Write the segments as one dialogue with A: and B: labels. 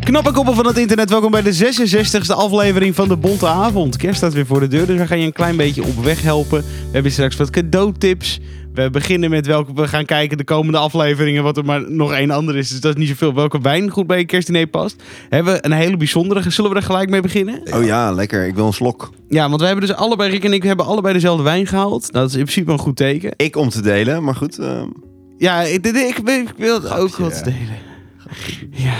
A: Knappe koppel van het internet, welkom bij de 66e aflevering van de Bonte Avond. Kerst staat weer voor de deur, dus we gaan je een klein beetje op weg helpen. We hebben straks wat cadeautips. We beginnen met welke we gaan kijken de komende afleveringen, wat er maar nog één ander is. Dus dat is niet zoveel. Welke wijn goed bij je kerstdiner past. Hebben we een hele bijzondere, zullen we er gelijk mee beginnen?
B: Oh ja, lekker. Ik wil een slok.
A: Ja, want we hebben dus allebei, Rick en ik, hebben allebei dezelfde wijn gehaald. Nou, dat is in principe een goed teken.
B: Ik om te delen, maar goed. ehm,
A: Ja, ik, dit- ik, ik wil ook
B: Grapje,
A: wat
B: hè?
A: delen. Ja,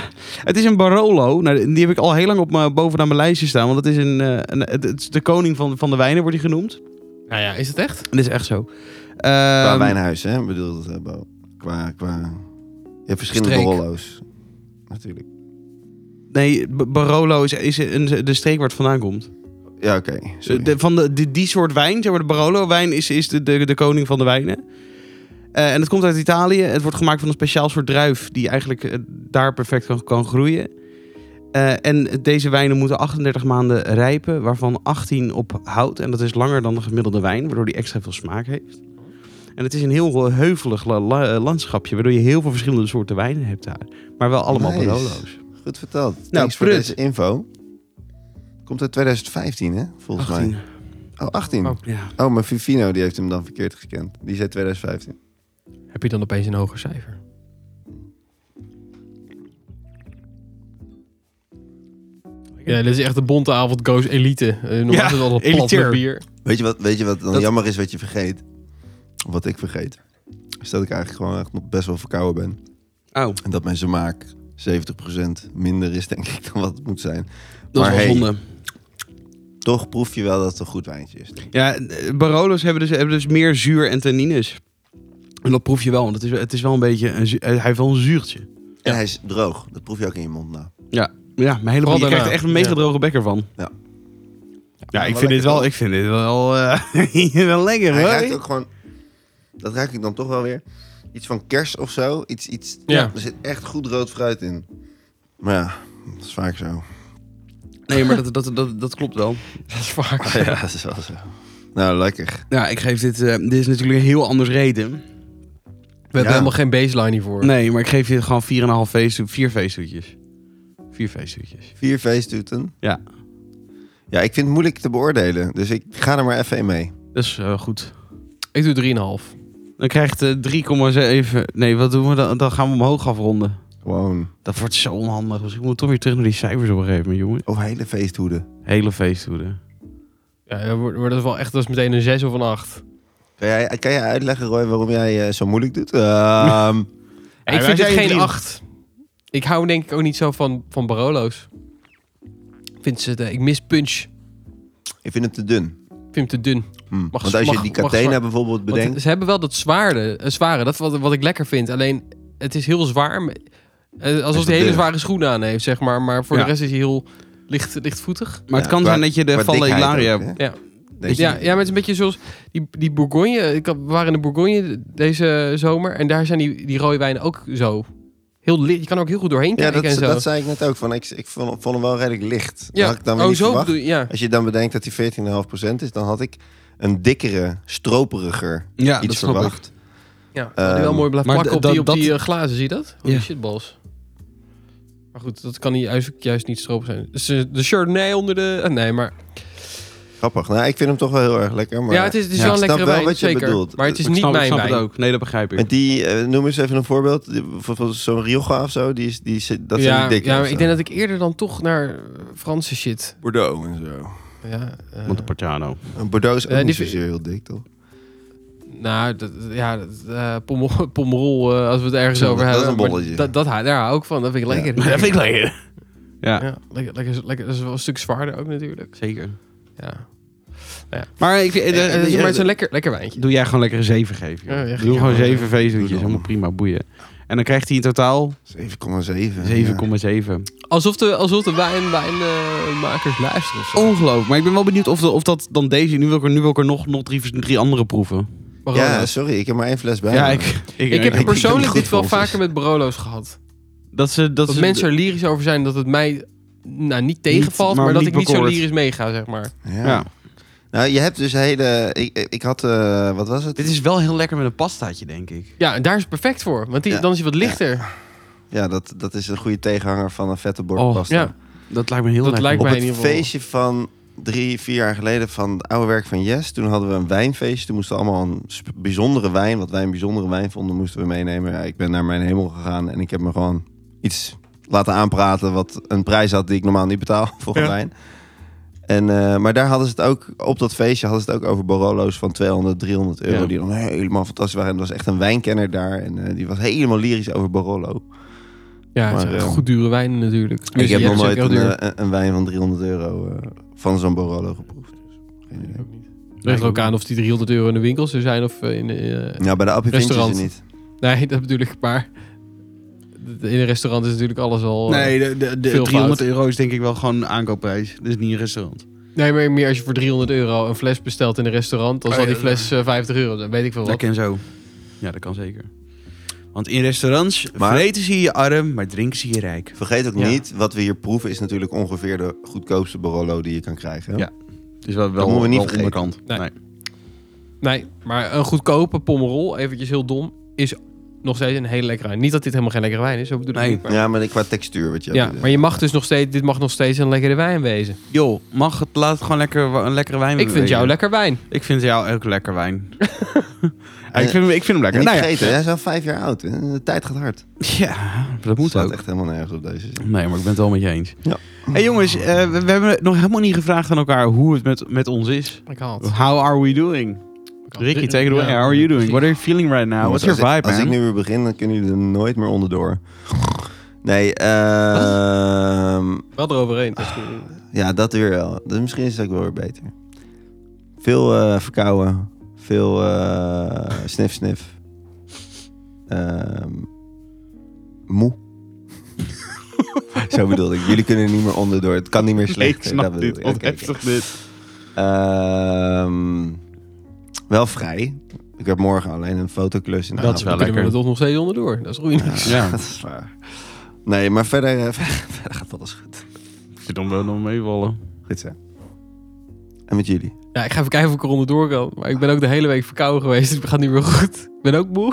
A: het is een Barolo. Nou, die heb ik al heel lang op mijn, bovenaan mijn lijstje staan. Want het is, een, eh, een, het, het is de koning van, van de wijnen, wordt hij genoemd.
C: Nou ja, is het echt?
A: Dat is echt zo.
B: qua
A: Ehm,
B: wijnhuis, hè? Ik bedoel, dat, eh, Bo. qua, qua... Je hebt verschillende
C: Streek.
B: rollo's. Natuurlijk.
A: Nee, B- Barolo is, is een, de streek waar het vandaan komt.
B: Ja, oké. sorry.
A: De- van de, die- die soort wijn, zeg maar, de Barolo-wijn is, is de, de, de koning van de wijnen. Eh, en het komt uit Italië. Het wordt gemaakt van een speciaal soort druif die eigenlijk eh, daar perfect kan, kan groeien. Eh, en deze wijnen moeten 38 maanden rijpen, waarvan 18 op hout. En dat is langer dan de gemiddelde wijn, waardoor die extra veel smaak heeft. En het is een heel heuvelig la- la- eh, landschapje, waardoor je heel veel verschillende soorten wijnen hebt daar. Maar wel allemaal
B: Nice.
A: Barolo's.
B: Goed verteld. Thanks voor
A: prut.
B: deze info. Komt uit 2015, hè? Volgens
A: 18.
B: mij. Oh, 18.
C: Oh.
B: Oh.
A: Ja.
B: maar Vivino die heeft hem dan verkeerd gekend. Die zei 2015.
C: Heb je dan opeens een hoger cijfer? Ja, dit is echt de bonte avond goes elite. Eh, normaal
A: Ja,
C: is het altijd plat
A: elitair.
C: met bier.
B: Weet je wat, weet je wat dan
A: Dat-
B: jammer is wat je vergeet? Of wat ik vergeet? Is dat ik eigenlijk gewoon echt nog best wel verkouden ben.
A: Oh,
B: En dat mijn smaak 70% minder is, denk ik, dan wat het moet zijn.
A: dat
B: Maar
A: is wel
B: hey,
A: zonde.
B: Toch proef je wel dat het een goed wijntje is.
A: Ja, eh, Barolo's hebben dus, hebben dus meer zuur en tannines. En dat proef je wel, want het is, het is wel een beetje... Een, zu- eh, hij heeft wel een zuurtje.
B: En hij is droog. Dat proef je ook in je mond nou.
A: Ja, ja maar helemaal, je
C: daarna.
A: krijgt er echt een mega
C: Ja.
A: droge bekker van.
B: Ja.
A: Ja, ik vind,
B: wel
A: dit
B: lekker,
A: wel,
B: toch?
A: ik vind dit wel, eh, wel lekker
B: Hij
A: hoor.
B: ruikt ook gewoon... Dat ruik ik dan toch wel weer. Iets van kers of zo. Iets, iets,
C: Ja.
B: Er zit echt goed rood fruit in. Maar ja, dat is vaak zo.
A: Nee, maar dat, dat, dat, dat klopt wel.
C: Dat is vaak.
B: Ja, dat is wel zo. Nou, lekker.
A: Ja, ik geef dit... eh, dit is natuurlijk een heel anders reden.
C: We hebben
B: Ja.
C: helemaal geen baseline hiervoor.
A: Nee, maar ik geef dit gewoon 4,5 feestdoet, 4 feestdoetjes. 4 feestdoetjes.
B: Vier feestdoeten.
A: Ja.
B: Ja, ik vind het moeilijk te beoordelen. Dus ik ga er maar even in mee.
A: Dat is eh, goed.
C: Ik doe 3,5.
A: Dan krijgt eh 3,7... Nee, wat doen we dan? Dan gaan we omhoog afronden.
B: Gewoon.
A: Dat wordt zo onhandig. Misschien moeten we toch weer terug naar die cijfers op een gegeven moment, jongen.
B: Oh, hele feesthoeden.
A: Hele feesthoeden.
C: Ja, dat wordt wordt dat wel echt dat is meteen een 6 of een 8.
B: Kan jij, kan jij uitleggen, Roy, waarom jij eh, zo moeilijk doet? Ehm,
C: ik
A: wij
C: vind dit
A: zijn
C: geen
A: drie.
C: 8. Ik hou denk ik ook niet zo van, van Barolo's. Ik Vind ze, de- ik mis punch. Ik
B: ik vind het te dun.
C: vind hem te dun.
B: Hm,
C: Mag-
B: Want als je
C: mag-
B: die
C: mag
B: Catena
C: zwaar-
B: bijvoorbeeld
C: Want
B: bedenkt.
C: ze hebben wel dat zwaarde, eh, zware, dat wat, wat ik lekker vind. Alleen, het is heel zwaar. maar, eh,
B: dat
C: Alsof hij hele
B: dun?
C: zware schoenen aan heeft, zeg maar. Maar voor
A: Ja.
C: de rest is hij heel licht, lichtvoetig.
A: Maar het
B: Ja,
A: kan
B: qua-
A: zijn dat je de
B: qua
A: Valle
B: dikheid
A: eh, Hilaria...
B: ook, hè?
C: Ja.
B: Denk je-
C: ja, ja, maar het is een beetje zoals die, die Bourgogne. Ik had- we waren in de Bourgogne deze zomer. En daar zijn die, die rode wijnen ook zo. Heel licht. Je kan er ook heel goed doorheen
B: Ja,
C: kijken
B: dat,
C: en zo.
B: dat zei ik net ook. Van, ik ik vond, vond hem wel redelijk licht. Dat
C: ja,
B: Had ik dan weer
C: oh,
B: niet
C: zo
B: verwacht.
C: bedoel je. Ja.
B: Als je dan bedenkt dat hij 14,5% is, dan had ik een dikkere, stroperiger
A: Ja,
B: iets verwacht.
C: Ja, dat hij wel
B: Ehm,
C: mooi blijft
A: maar
C: plakken op
A: dat-
C: die, op
A: dat-
C: die eh, glazen, zie je dat? Holy
A: Ja.
C: shitballs. Maar goed, dat kan niet, juist, juist niet stroop zijn. Dus, eh, de Chardonnay onder de... eh, nee, maar...
B: Grappig. Nou, ik vind hem toch wel heel erg lekker. Maar
C: ja, het is, het is
A: ja,
C: wel
B: ik
C: een
B: snap
C: lekkere
B: wel
C: wijn,
B: wat je
C: zeker.
B: bedoelt.
C: Maar het is
A: Ik
C: niet
A: snap, ik
C: mijn
A: snap
C: wijn.
A: het ook. Nee, dat begrijp ik.
B: Met die, eh, noem eens even een voorbeeld. Die- bijvoorbeeld Zo'n Rioja of zo, die is, die is, dat zijn
C: ja,
B: die dikke.
C: ja, maar
B: of
C: ik
B: zo.
C: denk dat ik eerder dan toch naar eh, Franse shit...
B: Bordeaux en zo.
C: Ja, eh,
A: Montepulciano.
B: En Bordeaux is ook
C: Ja,
B: niet
C: Eh, die-
B: zozeer heel dik, toch?
C: nou, dat, ja, dat, eh, pommel- pommerol, eh, als we het ergens
B: Zo,
C: over
B: dat is
C: hebben.
B: een
C: maar
B: bolletje.
C: Dat, dat, hou- daar hou ik van, dat vind ik
B: Ja.
C: lekker.
A: Dat vind ik lekker. Ja,
C: Ja, lekker, lekker, lekker. Dat is wel een stuk zwaarder ook natuurlijk.
A: zeker.
C: Ja.
A: Maar, ik, eh,
C: Eh,
A: eh,
C: eh, maar het is een
A: eh,
C: lekker, lekker wijntje.
A: doe jij gewoon lekker een 7 geven. joh.
C: Ja, ja,
A: Doe
C: ja,
A: gewoon
C: ja.
A: 7 feestdoetjes.
B: Doe
A: Helemaal
B: dan.
A: prima, boeien. En dan krijgt hij in totaal
B: 7,7.
A: 7,7.
C: Alsof de, alsof de wijn, wijnmakers luisteren of zo.
A: Ongelooflijk. Maar ik ben wel benieuwd of, de, of dat dan deze... Nu wil ik er, nu wil ik er nog, nog drie, drie andere proeven.
B: Ja.
C: Barolo's.
B: ja, sorry. Ik heb maar één fles bij
A: Ja,
B: me.
A: ik, ik,
C: ik heb
B: ik-
C: persoonlijk
B: ik-
C: dit wel
B: goed dus. volgens.
C: vaker met Barolo's gehad.
A: dat ze, dat
C: Dat,
A: ze,
C: mensen er lyrisch over zijn dat het mij nou, niet tegenvalt,
A: maar
C: maar, dat
A: niet
C: ik niet zo
A: bekoort.
C: lyrisch meega, zeg maar.
B: Ja.
A: Ja.
B: Nou, je hebt dus hele... Ik, ik had... eh, wat was het?
A: Dit is wel heel lekker met een pastaatje, denk ik.
C: Ja, en daar is het perfect voor, want die,
B: Ja.
C: dan is hij wat lichter.
B: Ja, Ja, dat, dat is een goede tegenhanger van een vette
A: Oh,
B: bordpasta.
C: ja.
A: Dat lijkt me heel
C: Dat
A: lekker.
C: lijkt
B: Op
C: mij
B: het
C: in ieder geval.
B: feestje van drie, vier jaar geleden van het oude werk van Yes. Toen hadden we een wijnfeestje. Toen moesten we allemaal een sp- bijzondere wijn, wat wij een bijzondere wijn vonden, moesten we meenemen. Ja, ik ben naar mijn hemel gegaan en ik heb me gewoon iets laten aanpraten wat een prijs had die ik normaal niet betaal voor een
A: Ja.
B: wijn. En, eh, maar daar hadden ze het ook, op dat feestje hadden ze het ook over Barolo's van 200, 300 euro.
C: Ja.
B: Die dan helemaal fantastisch waren. En er was echt een wijnkenner daar. En eh, die was helemaal lyrisch over Barolo.
C: Ja, het
B: Maar,
C: zijn echt
B: eh,
C: goed dure wijnen natuurlijk.
B: Ik
C: Dus Tenminste,
B: heb
C: ja,
B: nog nooit
C: het is ook
B: een,
C: heel duur.
B: eh, een wijn van 300 euro eh, van zo'n Barolo geproefd. Dus geen idee.
C: Ligt er ook aan of die 300 euro in de winkels er zijn of eh, in... eh,
B: Nou, bij de appie vind je ze
C: Restaurant.
B: niet.
C: nee, dat bedoel ik, maar... In een restaurant is natuurlijk alles al... eh,
A: Nee, de, de, de
C: Veel
A: 300
C: fout.
A: euro is denk ik wel gewoon een aankoopprijs. Dus niet een restaurant.
C: Nee, maar meer als je voor 300 euro een fles bestelt in een restaurant, dan
A: Oh,
C: zal
A: ja,
C: die fles eh, 50 euro, dan weet ik veel wat.
A: Lekker en zo. Ja, dat kan zeker. Want in restaurants
B: Maar-
A: vreten ze je arm, maar drinken ze je rijk.
B: Vergeet ook
C: Ja.
B: niet, wat we hier proeven is natuurlijk ongeveer de goedkoopste Barolo die je kan krijgen.
A: Ja. Dus wel, wel,
B: moeten we niet
A: wel
B: vergeten.
A: onderkant.
C: Nee. Nee, maar een goedkope pommerol, eventjes heel dom, is nog steeds een hele lekkere wijn. Niet dat dit helemaal geen lekkere wijn is, zo bedoel ik
A: Nee.
C: niet, maar-
B: Ja, maar qua textuur, wat je
C: Ja,
B: hebt.
C: maar je mag dus nog steeds, dit mag nog steeds een lekkere wijn wezen.
A: Joh, mag het, laat het gewoon lekker, wa- een lekkere wijn
C: Ik vind
A: bewegen.
C: jou lekker wijn.
A: Ik vind jou ook lekker wijn. Ja, ik,
B: En-
A: vind hem, ik vind hem
B: En
A: lekker.
B: niet
A: Nou ja.
B: vergeten, hij is al vijf jaar oud. hè. De tijd gaat hard.
A: ja, dat moet
B: staat
A: ook. Nou,
B: echt helemaal nergens op deze zin.
A: Nee, maar ik ben het wel met je eens.
B: Ja.
A: hey jongens, eh, we, we hebben nog helemaal niet gevraagd aan elkaar hoe het met, met ons is.
C: Ik haal
A: How are we doing? Ricky, take it away. How are you doing? What are you feeling right now? What's your
B: Jongens, als
A: vibe,
B: ik, Als ik
A: man?
B: nu weer begin, dan kunnen jullie er nooit meer onderdoor. Nee, ehm...
C: Wel eroverheen.
B: Ja, dat weer wel. Dus misschien is het ook wel weer beter. Veel eh, verkouden. Veel eh, snif, snif. Ehm, moe. Zo bedoelde ik. Jullie kunnen er niet meer onderdoor. Het kan niet meer
A: Nee,
B: slecht.
A: ik snap
B: bedoel
A: dit.
B: ik.
A: Wat
B: Oké, oké.
A: heftig dit.
B: Ehm, wel vrij. Ik heb morgen alleen een fotoclus in de
A: Dat is
B: avond.
A: wel
C: Dan kunnen we
A: lekker.
C: er toch nog steeds onderdoor. Dat is roeiend.
A: Ja,
B: Dat is waar. Nee, maar verder, eh, verder gaat alles goed.
A: ik vind hem wel nog meevallen.
B: Goed zo. En met jullie?
C: Ja, ik ga even kijken of ik er onderdoor kan. Maar ik ben ook de hele week verkouden geweest. dus Het gaat niet meer goed. Ik ben ook moe.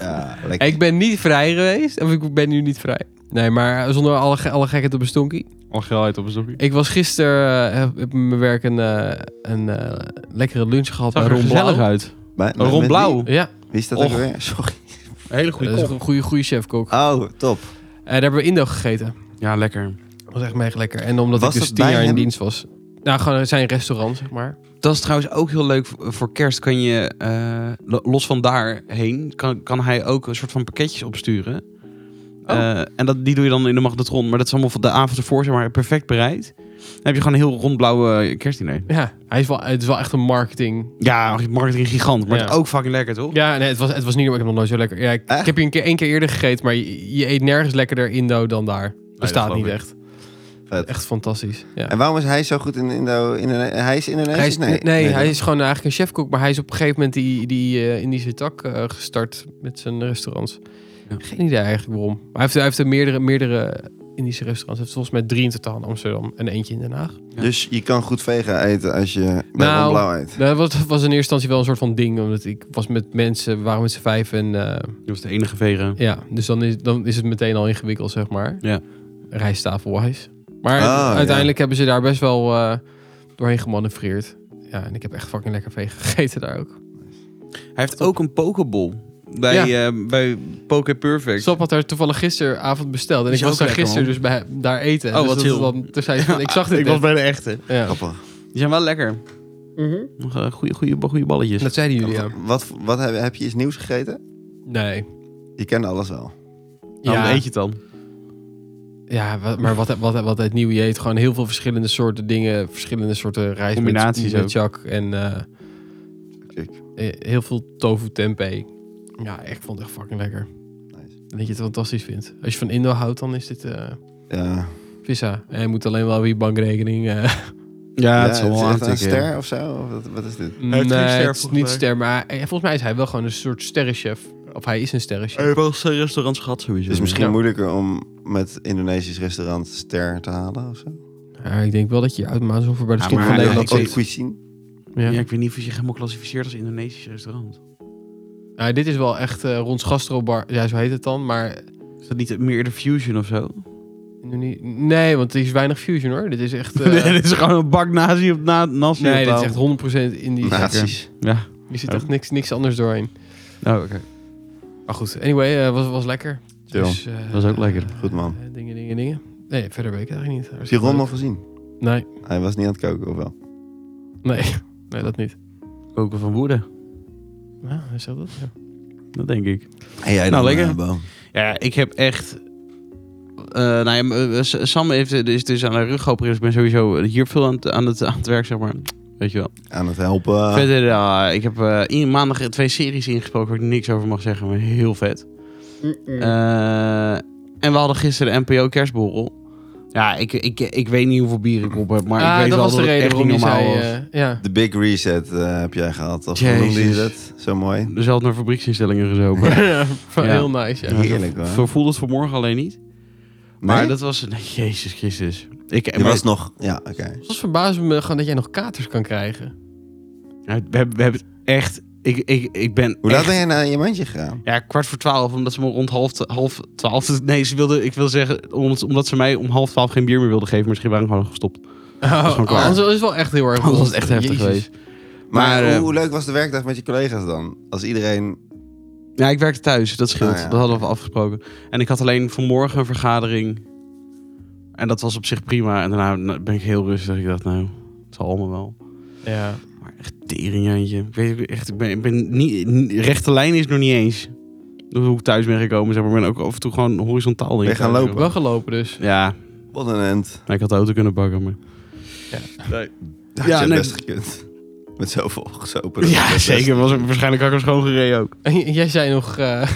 B: Ja, lekker.
C: Ik ben niet vrij geweest. Of ik ben nu niet vrij. Nee, maar zonder alle, ge- alle gekheid op een stonkie.
A: Al geilheid op een stokje.
C: Ik was gisteren, eh, heb- heb in mijn werk een, eh, een eh, lekkere lunch gehad bij
A: Zag er
C: Ron Blauw.
A: gezellig uit.
B: Maar- maar met
A: Ron
B: wie?
A: Blauw.
C: Ja,
B: Wie is dat
A: Och.
B: ook weer? Sorry.
A: Een hele
C: dat is een goede, goede chefkok.
B: Oh, top.
C: Eh, daar hebben we Indo gegeten.
A: Ja, lekker.
C: Dat was echt mega lekker. En omdat
B: Was
C: ik dus
B: dat
C: tien
B: bij
C: jaar in
B: hem?
C: dienst was. Nou, gewoon zijn restaurant, zeg maar.
A: Dat is trouwens ook heel leuk. Voor voor kerst kan je, eh, lo- los van daarheen, kan, kan hij ook een soort van pakketjes opsturen.
C: Oh.
A: Eh, en dat, die doe je dan in de magnetron. Maar dat is allemaal van de avond ervoor, zeg maar, perfect bereid. Dan heb je gewoon een heel rondblauwe kerstdiner.
C: Ja, hij is wel, het is wel echt een marketing.
A: Ja, marketing gigant. Maar
C: Ja.
A: het is ook fucking lekker, toch?
C: Ja, nee, het was, het was niet, ik heb nog nooit zo lekker. Ja, ik,
B: Echt?
C: ik heb hier een keer, één keer eerder gegeten, maar je, je eet nergens lekkerder Indo dan daar. Bestaat
A: geloof
C: niet
A: ik.
C: echt.
B: Vet.
C: Echt fantastisch. Ja.
B: En waarom is hij zo goed in Indo? In, hij is Indonesisch?
C: Hij is, nee, hij
B: toch?
C: is gewoon eigenlijk een chefkok, maar hij is op een gegeven moment die, die eh, Indische tak eh, gestart met zijn restaurants.
A: Ja.
C: Geen idee eigenlijk waarom. Maar hij heeft, hij heeft er meerdere, meerdere Indische restaurants. Hij heeft volgens mij drie in totaal in Amsterdam en eentje in Den Haag.
A: Ja.
B: Dus je kan goed vega eten als je bij
C: Nou,
B: Ron Blauw eet.
C: Nou, dat was, was in eerste instantie wel een soort van ding, omdat ik was met mensen, we waren met z'n vijf en eh,
A: Dat was de enige vegen.
C: ja, dus dan is, dan is het meteen al ingewikkeld, zeg maar.
A: Ja.
C: Rijsttafelwijs. Maar
B: Ah,
C: uiteindelijk hebben ze daar best wel eh, doorheen gemanoeuvreerd. Ja, en ik heb echt fucking lekker vee gegeten daar ook.
A: Hij heeft ook een pokeball. Bij, eh, bij Poke Perfect.
C: Stop had daar toevallig gisteravond besteld en
A: Is
C: ik was
A: ook
C: daar
A: lekker,
C: gisteren dus bij, daar eten.
A: Oh,
C: Dus
A: wat
C: dat is
A: chill.
C: dan- toen zei ik van, ik zag dit
A: Ik was
C: net.
A: bij de echte.
C: Ja.
B: Grappig.
A: Die zijn wel lekker. Nog eh, goede goede goede balletjes.
C: Dat zeiden jullie, ja.
B: Wat, wat heb, heb je iets nieuws gegeten?
C: Nee.
B: Je kent alles wel.
A: Nou,
C: Ja.
A: wat eet je het dan?
C: Ja, wa- maar wat, wat, wat het nieuwe je eet, gewoon heel veel verschillende soorten dingen, verschillende soorten rijst met-
A: Combinaties
C: met
A: ook.
C: chak en eh,
B: Kijk.
C: eh, heel veel tofu tempeh. Ja, echt, ik vond het echt fucking lekker.
B: Nice.
C: En dat je het fantastisch vindt. Als je van Indo houdt, dan is dit eh
B: Ja,
C: visa. En je moet alleen wel weer je bankrekening. eh,
A: Ja,
B: is het echt een ster of zo? Of wat, wat is dit?
A: heeft geen
C: nee,
A: ster,
C: het is
A: volgens
C: niet
A: mij.
C: ster, maar eh, volgens mij is hij wel gewoon een soort sterrenchef. Of hij is een sterrenchef.
A: heeft wel zijn restaurants gehad sowieso.
B: Het is misschien
C: Ja.
B: moeilijker om met Indonesisch restaurant ster te halen of zo.
C: Ja, ik denk wel dat je je uitmaakt voor bij de
A: Ja,
C: schop
A: maar
C: van
A: hij-
C: Nederland.
A: hij-
B: ook
A: weet-
B: cuisine.
C: Ja.
A: Ja, ik weet niet of je zich helemaal klassificeert als Indonesisch restaurant.
C: Nou, dit is wel echt eh Rons Gastrobar. Ja, zo heet het dan. Maar
A: Is dat niet meer de Fusion of zo?
C: Indone- Nee, want het is weinig fusion hoor. Dit is echt. eh,
A: nee, dit is gewoon een bak nazi op na, nazi
C: nee,
A: op
C: dit is
A: tafel.
C: echt 100% Indisch.
B: Nazi's.
A: Ja.
C: Je ziet echt niks, niks anders doorheen.
A: Oh, oké.
C: Maar goed, anyway, eh, was, was lekker.
B: Chill.
C: Dus, eh,
A: Was ook lekker.
B: Goed, man.
C: eh, dingen, dingen, dingen. Nee, verder weet ik het eigenlijk niet.
B: Heb je Ron
C: Hartstikke
B: nog gezien?
C: leuk. Nee,
B: Hij was niet aan het koken, of wel?
C: nee, nee, dat niet.
A: Koken van woede.
C: Ja, is dat het? Ja.
A: Dat denk ik.
B: En jij
A: Nou, lekker.
B: eh, Bo?
A: Ja, ik heb echt. eh, nou ja, m- eh, S- Sam heeft, eh, is dus aan haar rug geopereerd. Dus ik ben sowieso hier veel aan het, aan het, aan het werk, zeg maar. Weet je wel.
B: Aan het
C: Ah.
B: helpen.
A: Verder, eh, ik heb eh, in, maandag twee series ingesproken waar ik niks over mag zeggen, maar heel vet. Eh, en we hadden gisteren de NPO kerstborrel. Ja, ik, ik, ik weet niet hoeveel bier ik op heb, maar
C: Ah,
A: ik weet
C: dat
A: wel
C: was de
A: dat het
C: reden
A: echt
C: waarom je
A: niet normaal
C: zei.
A: was.
C: eh, ja.
B: De Big Reset eh, heb jij gehad. Of hoe
A: Jezus.
B: noemde je dat? Zo
C: eh,
B: mooi.
A: Dezelfde naar fabrieksinstellingen gezopen.
C: Van
A: Ja.
C: Heel nice, ja.
A: Ja.
B: Heerlijk, hoor.
A: Zo voelde het vanmorgen alleen niet. Maar
B: Nee?
A: dat was... Nee, Jezus Christus. Ik,
B: Je
A: maar-
B: was nog... Ja, oké.
C: Soms verbaasde me eh, gewoon dat jij nog katers kan krijgen.
A: Ja, We hebben, we hebben het echt. Ik, ik, ik ben.
B: Hoe laat
A: echt-
B: ben jij naar je mandje gegaan?
A: Ja, kwart voor twaalf, omdat ze me rond half, t- half twaalf. Nee, ze wilde, ik wil zeggen, omdat, omdat ze mij om half twaalf geen bier meer wilden geven. maar Misschien waren we gewoon gestopt.
C: Oh,
A: gewoon klaar.
C: anders is het wel echt heel erg.
A: Dat was
C: rond.
A: echt heftig
C: Jezus.
A: geweest.
B: Maar,
A: Maar,
B: hoe,
A: eh,
B: hoe leuk was de werkdag met je collega's dan? Als iedereen...
A: Ja, ik werkte thuis, dat scheelt.
B: Ah, ja.
A: Dat hadden we afgesproken. En ik had alleen vanmorgen een vergadering. En dat was op zich prima. En daarna nou, ben ik heel rustig. Ik dacht, nou, het zal allemaal wel.
C: Ja.
A: Maar echt teringhandje. Ik weet ook echt, ik ben, ik ben niet, niet- rechte lijn is nog niet eens. Hoe ik thuis ben gekomen, zeg maar. Ik ben ook af en toe gewoon horizontaal.
B: Ben je gaan
A: thuis
B: lopen?
A: gekomen.
C: Wel gelopen dus.
A: Ja,
B: Wat een end.
A: Nou, ik had de auto kunnen pakken, maar...
B: Had je
A: Ja,
B: het
A: nee.
B: best gekund. Met zoveel gesopen.
A: Ja, zeker. Was, waarschijnlijk had ik hem schoongereden ook.
C: En jij zei nog... eh,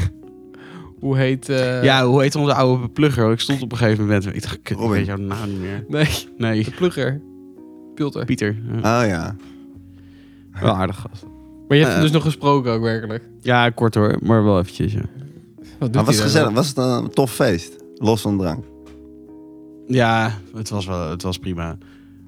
C: hoe heet... eh,
A: ja, hoe heet onze oude plugger? Ik stond op een gegeven moment... Ik dacht, kut, ik
B: Robin.
A: weet jouw naam niet meer.
C: Nee,
A: Nee,
C: de plugger. Pilter.
A: Pieter. Ja,
B: Oh ja.
A: wel aardig gast.
C: Maar je hebt hem
A: Eh.
C: dus nog gesproken ook werkelijk.
A: Ja, kort hoor, maar wel eventjes, ja.
C: Wat doet
B: Maar was het
C: hij
B: gezellig?
C: dan?
B: Was het een tof feest? Los van drank.
A: Ja, het was, wel, het was prima.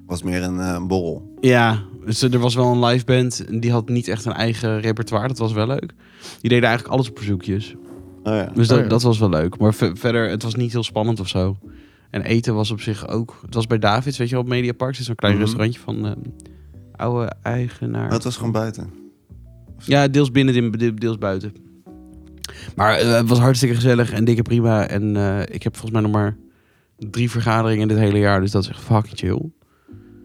B: Was meer een eh, een borrel.
A: Ja, dus er was wel een live band. en Die had niet echt een eigen repertoire. Dat was wel leuk. Die deden eigenlijk alles op verzoekjes.
B: Oh ja.
A: Dus dat,
C: Oh ja.
A: dat was wel leuk. Maar ver- verder, het was niet heel spannend of zo. En eten was op zich ook... Het was bij Davids, weet je wel, op Mediapark. Het is zo'n klein
B: Mhm.
A: restaurantje van eh, oude eigenaar.
B: Oh, het was gewoon buiten.
A: Ja, deels binnen, de- deels buiten. Maar eh, het was hartstikke gezellig en dikke prima. En eh, ik heb volgens mij nog maar drie vergaderingen dit hele jaar. Dus dat is echt fucking chill.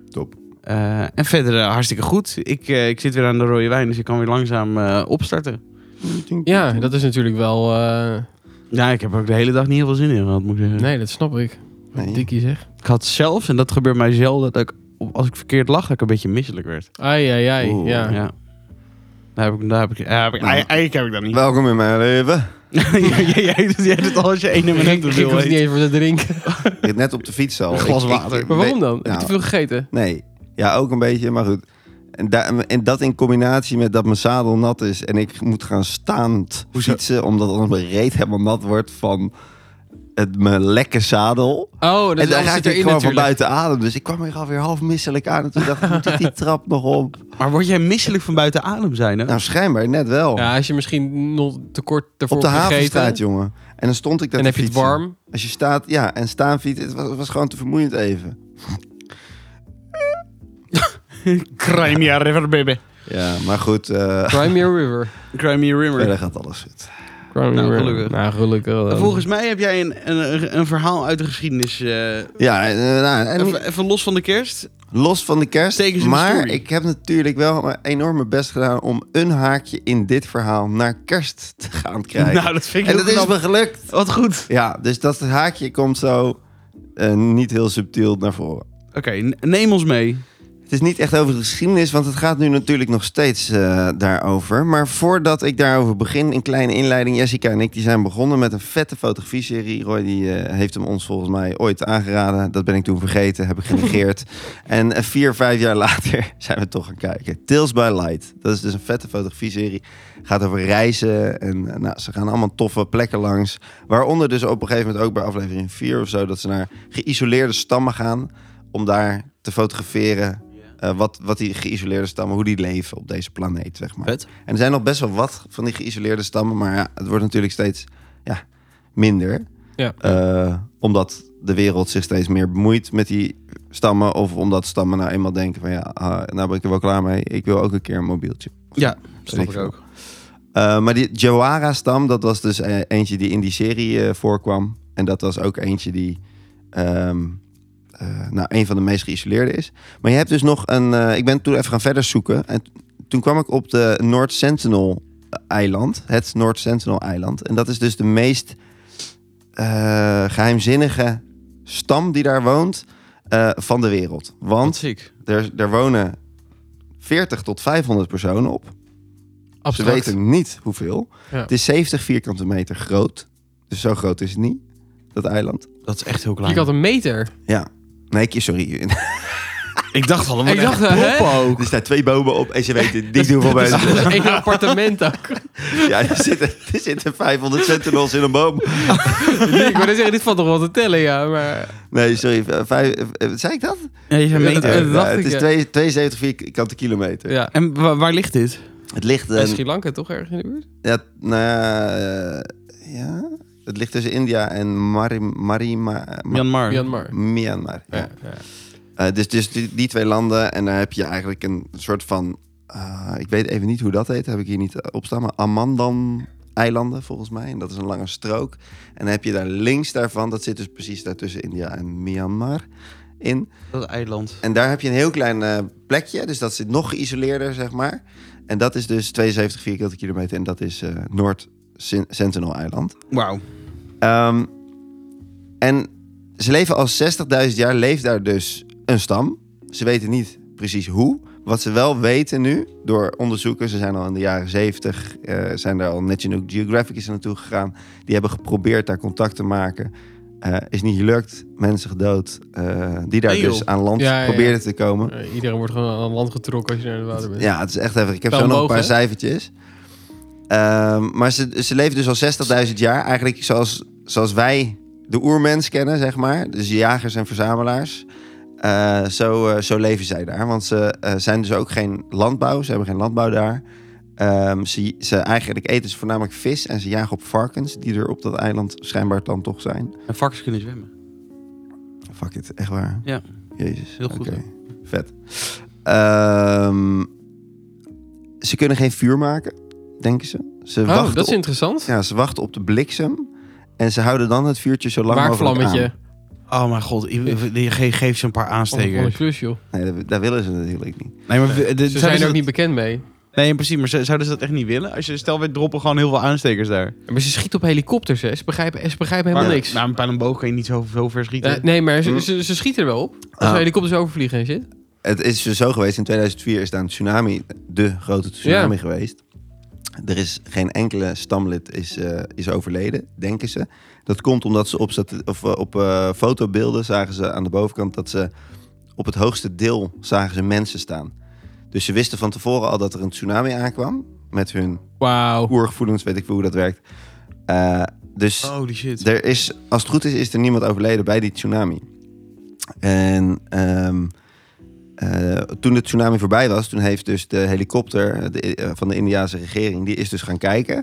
B: Top.
A: Eh, en verder eh, hartstikke goed. Ik, eh, ik zit weer aan de rode wijn, dus ik kan weer langzaam eh, opstarten.
C: Ja, dat is natuurlijk wel... eh,
A: Ja, ik heb er ook de hele dag niet heel veel zin in gehad, moet ik zeggen.
C: nee, dat snap ik. Wat
B: Nee.
C: Dikkie zeg.
A: Ik had zelfs, en dat gebeurt mij zelden, dat ik op- als ik verkeerd lag, dat ik een beetje misselijk werd.
C: Ai, ai, ai.
B: Oeh,
C: ja.
A: Ja. Daar heb ik, daar heb ik, daar heb ik
B: Nou.
A: ei- eigenlijk heb ik dat niet.
B: Welkom in mijn leven.
A: jij, jij- jij doet, jij doet al als je één nummer
C: Ik, ik hoef het niet
A: eet.
C: eens voor te drinken.
B: Ik zit net op de fiets al.
A: Een glas
B: Ik- ik-
A: water.
C: Maar waarom dan? Heb
B: Nou.
C: je te veel gegeten?
B: Nee. Ja, ook een beetje, maar goed. En, da- en dat in combinatie met dat mijn zadel nat is en ik moet gaan staand
A: Hoezo?
B: fietsen, omdat anders mijn reet helemaal nat wordt van het, mijn lekke zadel.
C: Oh, dat
B: en
C: is
B: dan
C: alles
B: raakte ik
C: zit
B: gewoon
C: erin
B: van
C: natuurlijk.
B: buiten adem. Dus ik kwam er alweer half misselijk aan. En toen dacht ik, moet ik die trap nog op?
A: Maar word jij misselijk van buiten adem zijn, hè?
B: Nou, schijnbaar net wel.
C: Ja, als je misschien nog te kort ervoor
B: op de
C: hebt
B: haven
C: gegeten,
B: staat, jongen. En dan stond ik daar
C: En
B: te
C: heb je het
B: fietsen.
C: warm.
B: Als je staat, ja, en staan fietsen, het was, het was gewoon te vermoeiend even.
A: Crimea River, baby.
B: Ja, maar goed, eh
C: Crimea River.
A: Crimea River.
B: verder gaat alles goed.
C: Crimea
A: Nou,
C: River.
A: gelukkig.
C: Nou, gelukkig wel.
A: En Volgens mij heb jij een, een, een verhaal uit de geschiedenis. eh,
B: Ja, en, eh, nou, en
A: even, even los van de kerst.
B: Los van de kerst.
A: Steek eens in de
B: maar
A: story.
B: ik heb natuurlijk wel mijn enorme best gedaan om een haakje in dit verhaal naar kerst te gaan krijgen.
A: Nou, dat vind ik
B: en
A: heel
B: dat is
A: knap.
B: me gelukt.
A: Wat goed.
B: Ja, dus dat haakje komt zo eh, niet heel subtiel naar voren.
A: Oké, n- neem ons mee.
B: Het is niet echt over de geschiedenis, want het gaat nu natuurlijk nog steeds eh, daarover. Maar voordat ik daarover begin, een kleine inleiding. Jessica en ik die zijn begonnen met een vette fotografie-serie. Roy die, eh, heeft hem ons volgens mij ooit aangeraden. Dat ben ik toen vergeten, heb ik genegeerd. en eh, vier, vijf jaar later zijn we toch gaan kijken. Tales by Light. Dat is dus een vette fotografie-serie. Gaat over reizen en eh, nou, ze gaan allemaal toffe plekken langs. Waaronder dus op een gegeven moment ook bij aflevering 4 of zo... dat ze naar geïsoleerde stammen gaan om daar te fotograferen... eh, wat, wat die geïsoleerde stammen, hoe die leven op deze planeet, zeg maar.
A: Vet.
B: En er zijn nog best wel wat van die geïsoleerde stammen, maar ja, het wordt natuurlijk steeds ja, minder.
C: Ja.
B: Eh, omdat de wereld zich steeds meer bemoeit met die stammen. Of omdat stammen nou eenmaal denken van ja, ah, nou ben ik er wel klaar mee. Ik wil ook een keer een mobieltje.
A: Ja,
B: Weet ik veel. Eh, maar die Jawara-stam, dat was dus eh, eentje die in die serie eh, voorkwam. En dat was ook eentje die ehm, eh, nou, een van de meest geïsoleerde is. Maar je hebt dus nog een... eh, ik ben toen even gaan verder zoeken. En t- toen kwam ik op de North Sentinel-eiland. Het North Sentinel-eiland. En dat is dus de meest eh, geheimzinnige stam die daar woont eh, van de wereld.
C: Want
B: Want
C: ziek.
B: er, er wonen 40 tot 500 personen op. Ze
C: Abstract.
B: weten niet hoeveel.
C: Ja.
B: Het is 70 vierkante meter groot. Dus zo groot is het niet, dat eiland.
A: Dat is echt heel
C: Je
A: klein.
C: had een meter.
B: Ja. Nee, ik- sorry.
A: Ik dacht al,
C: Ik dacht, hè?
B: Er staan twee bomen op en ze weten niet hoeveel
C: Dat is dus-
B: mensen.
C: één appartement ook.
B: Ja, er zitten, er zitten 500 sentinels in een boom.
C: Ik wou net zeggen, dit valt nog wel te tellen, ja. Maar
B: Nee, sorry. eh, Vijf, eh, wat zei ik dat?
A: je zei
C: Ja, dat-
A: meter.
B: Eh, nou,
C: dacht ik,
B: het is
C: ja.
B: twee- 72 vierkante kilometer.
C: ja.
A: En wa- waar ligt dit?
B: Het ligt...
C: En
B: eh,
C: Sri Lanka toch erg in de buurt?
B: ja, nou, ja, eh, ja, het ligt tussen India en Marim, Marima, Ma-
A: Myanmar.
C: Myanmar.
B: Myanmar. Ja.
C: Ja, ja.
B: Eh, dus dus die, die twee landen. En daar heb je eigenlijk een soort van... eh, ik weet even niet hoe dat heet. Heb ik hier niet op staan. Maar Amandan-eilanden volgens mij. En dat is een lange strook. En dan heb je daar links daarvan... Dat zit dus precies daar tussen India en Myanmar in.
A: Dat eiland.
B: En daar heb je een heel klein eh, plekje. Dus dat zit nog geïsoleerder, zeg maar. En dat is dus 72 vierkante kilometer. En dat is eh, Noord Sen- Sentinel-eiland.
A: Wauw.
B: Ehm, en ze leven al 60.000 jaar, leeft daar dus een stam. Ze weten niet precies hoe. Wat ze wel weten nu, door onderzoekers, ze zijn al in de jaren 70, eh, zijn daar al National Geographic is er naartoe gegaan. Die hebben geprobeerd daar contact te maken. Eh, is niet gelukt, mensen gedood. eh, die daar
A: Nee, joh.
B: dus aan land
C: Ja, ja, ja.
B: probeerden te komen.
C: Eh, Iedereen wordt gewoon aan het land getrokken als je naar het water bent.
B: Ja, het is echt even. Ik heb
C: Wel
B: zo nog een
C: mogen,
B: paar
C: hè?
B: cijfertjes. Ehm, maar ze, ze leven dus al 60.000 jaar. Eigenlijk zoals, zoals wij de oermens kennen, zeg maar. Dus jagers en verzamelaars. Eh, zo, eh, zo leven zij daar. Want ze eh, zijn dus ook geen landbouw. Ze hebben geen landbouw daar. Ehm, ze, ze eigenlijk eten ze voornamelijk vis en ze jagen op varkens, die er op dat eiland schijnbaar dan toch zijn.
A: En varkens kunnen zwemmen.
B: Fuck it, echt waar.
A: Ja.
B: Jezus.
A: Heel goed,
B: Oké.
A: hè?
B: Vet. Ehm, ze kunnen geen vuur maken, denken ze. Ze,
C: Oh,
B: wachten
C: dat is
B: op,
C: interessant.
B: ja, ze wachten op de bliksem. En ze houden dan het vuurtje zo lang mogelijk
C: Waakvlammetje.
A: Oh mijn god, je ge- geef ze een paar
C: Van een
A: aanstekers.
C: klus, joh.
B: aan. Nee, dat, dat willen ze natuurlijk niet.
A: Nee, maar we- de-
C: Ze zijn er ook
A: dat,
C: niet bekend mee.
A: Nee, precies, maar z- zouden ze dat echt niet willen? Als je stel we droppen gewoon heel veel aanstekers daar.
C: Maar ze schieten op helikopters, hè. Ze begrijpen, ze begrijpen helemaal
A: Maar-
C: niks.
A: Nou, een pijlenboog kan je niet zo, zo ver schieten.
C: Eh, nee, maar ze, ze, ze schieten er wel op. Als
B: Ah.
C: er helikopters overvliegen en shit.
B: Het is dus zo geweest, in 2004 is daar een tsunami, de grote tsunami geweest. Er is geen enkele stamlid is, eh, is overleden, denken ze. Dat komt omdat ze op, stati- of, eh, op eh, fotobeelden zagen ze aan de bovenkant dat ze op het hoogste deel zagen ze mensen staan. Dus ze wisten van tevoren al dat er een tsunami aankwam met hun
C: Wauw.
B: oergevoelens, weet ik veel hoe dat werkt. Eh, dus
A: Holy shit.
B: er is, als het goed is, is er niemand overleden bij die tsunami. En ehm, eh, toen de tsunami voorbij was, toen heeft dus de helikopter de- eh, van de Indiase regering, die is dus gaan kijken.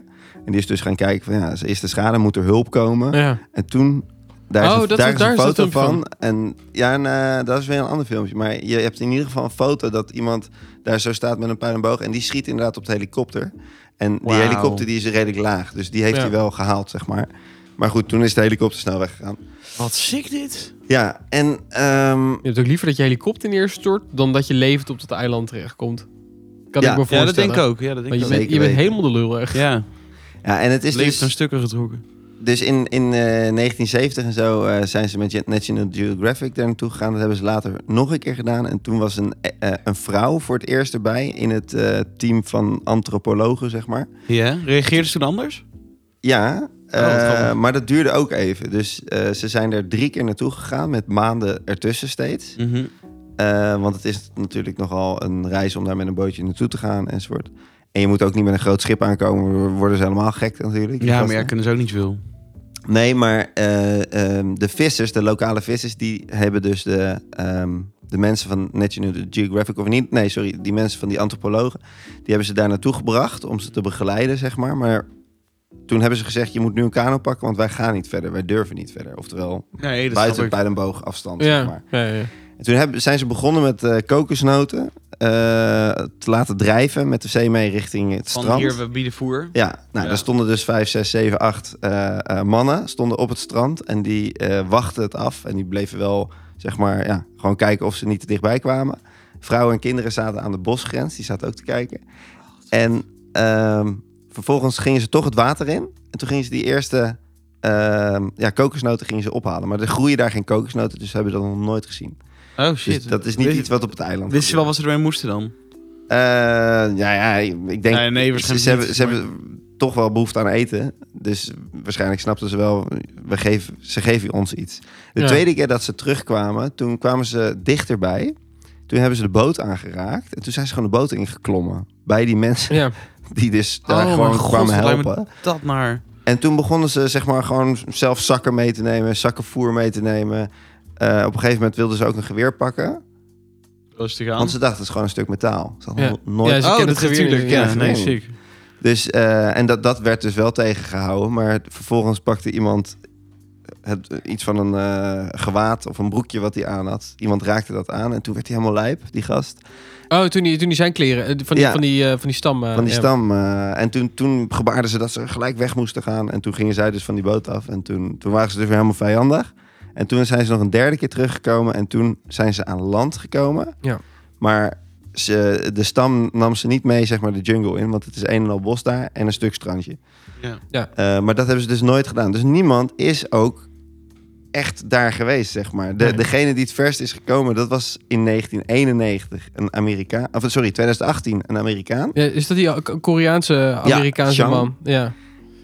B: En die is dus gaan kijken van ja, is de schade, moet er hulp komen.
C: Ja.
B: En toen, daar is,
C: Oh,
B: een,
C: dat-
B: daar is
C: daar
B: een
C: is dat
B: foto
C: filmpje
B: van. En ja, en, eh, dat is weer een ander filmpje. Maar je hebt in ieder geval een foto dat iemand daar zo staat met een pijl en boog. En die schiet inderdaad op de helikopter. En die
A: Wauw.
B: helikopter die is redelijk laag. Dus die heeft
C: Ja.
B: hij wel gehaald, zeg maar. Maar goed, toen is de helikopter snel weggegaan.
A: Wat sick dit.
B: Ja, en ehm,
C: Je hebt ook liever dat je helikopter neerstort dan dat je levend op dat eiland terechtkomt.
B: Ja.
C: Kan ik me
A: Ja,
C: voorstellen.
A: dat denk ik ook. Ja, dat denk ik
C: Want je
A: ook.
C: bent, je
B: Zeker
C: bent
B: weten.
C: helemaal de lul, echt.
A: Ja,
B: ja, en het is
A: leeft
B: dus...
A: aan stukken getrokken.
B: Dus in, in eh, 1970 en zo eh, zijn ze met Je- National Geographic daar naartoe gegaan. Dat hebben ze later nog een keer gedaan. En toen was een, eh, eh, een vrouw voor het eerst erbij in het eh, team van antropologen, zeg maar.
A: Ja, reageerden ze toen anders?
B: Ja, eh,
A: Oh, wat grappig.
B: maar dat duurde ook even. Dus eh, ze zijn er drie keer naartoe gegaan met maanden ertussen steeds.
A: Mhm.
B: Eh, want het is natuurlijk nogal een reis om daar met een bootje naartoe te gaan enzovoort. En je moet ook niet met een groot schip aankomen, dan worden ze helemaal gek natuurlijk. die
A: Ja, maar
B: gasten.
A: ja, kunnen ze ook niet veel.
B: Nee, maar eh, ehm, de vissers, de lokale vissers, die hebben dus de, ehm, de mensen van National Geographic, of niet, nee, sorry, die mensen van die antropologen, die hebben ze daar naartoe gebracht om ze te begeleiden, zeg maar. Maar Toen hebben ze gezegd, je moet nu een kano pakken, want wij gaan niet verder. Wij durven niet verder. Oftewel,
A: Nee, dat
B: buiten
A: snap ik.
B: pijlenboog afstand, zeg maar.
C: Ja, ja, ja.
B: En toen hebben, zijn ze begonnen met eh, kokosnoten eh, te laten drijven met de zee mee richting het
A: Van
B: strand.
A: hier, we bieden voer.
B: Ja, nou,
A: Ja.
B: daar stonden dus vijf, zes, zeven, acht eh, eh, mannen stonden op het strand. En die eh, wachten het af. En die bleven wel, zeg maar, ja, gewoon kijken of ze niet te dichtbij kwamen. Vrouwen en kinderen zaten aan de bosgrens. Die zaten ook te kijken. En ehm, vervolgens gingen ze toch het water in. En toen gingen ze die eerste ehm, ja, kokosnoten gingen ze ophalen. Maar er groeien daar geen kokosnoten, dus ze hebben dat nog nooit gezien.
A: Oh
B: Dus
A: shit.
B: dat is niet
A: Wist-
B: iets wat op het eiland
A: Wisten ze wel
B: gebeurt.
A: wat ze ermee moesten dan?
B: Eh, ja, ja, ik denk...
A: Nee, nee, waarschijnlijk
B: ze,
A: niet,
B: ze hebben, ze
A: maar-
B: hebben toch wel behoefte aan eten. Dus waarschijnlijk snapten ze wel... We geven, ze geven ons iets. De
C: Ja.
B: tweede keer dat ze terugkwamen... toen kwamen ze dichterbij. Toen hebben ze de boot aangeraakt. En toen zijn ze gewoon de boot ingeklommen. Bij die mensen
C: ja.
B: die dus daar
A: Oh,
B: gewoon
A: mijn god,
B: kwamen
A: wat lijkt me-
B: helpen.
A: Dat maar.
B: En toen begonnen ze zeg maar gewoon zelf zakken mee te nemen. Zakken voer mee te nemen. Eh, op een gegeven moment wilden ze ook een geweer pakken.
A: Rustig aan.
B: Want ze dachten, het is gewoon een stuk metaal. Ze hadden
C: Ja.
B: nog nooit
C: Ja, ze
A: oh,
C: kennen
A: dat
C: het geweer
A: natuurlijk.
C: niet.
A: Ja,
B: Ja,
A: nee,
B: gewoon.
A: sick.
B: Dus, eh, en dat, dat werd dus wel tegengehouden. Maar vervolgens pakte iemand het, iets van een eh, gewaad of een broekje wat hij aan had. Iemand raakte dat aan en toen werd hij helemaal lijp, die gast.
C: Oh, toen die, toen die zijn kleren, eh, van die,
B: Ja.
C: van die, eh, van die stam. eh,
B: van die
C: ja.
B: stam. eh, en toen, toen gebaarden ze dat ze gelijk weg moesten gaan. En toen gingen zij dus van die boot af. En toen, toen waren ze dus weer helemaal vijandig. En toen zijn ze nog een derde keer teruggekomen. En toen zijn ze aan land gekomen.
C: Ja.
B: Maar ze, de stam nam ze niet mee, zeg maar, de jungle in. Want het is een en al bos daar en een stuk strandje.
A: Ja.
B: Eh, maar dat hebben ze dus nooit gedaan. Dus niemand is ook echt daar geweest, zeg maar. De,
C: Nee.
B: Degene die het verst is gekomen, dat was in 1991 een Amerikaan. Of sorry, 2018 een Amerikaan.
C: Ja, is dat die eh, K- Koreaanse Amerikaanse
B: Shang.
C: man? Ja.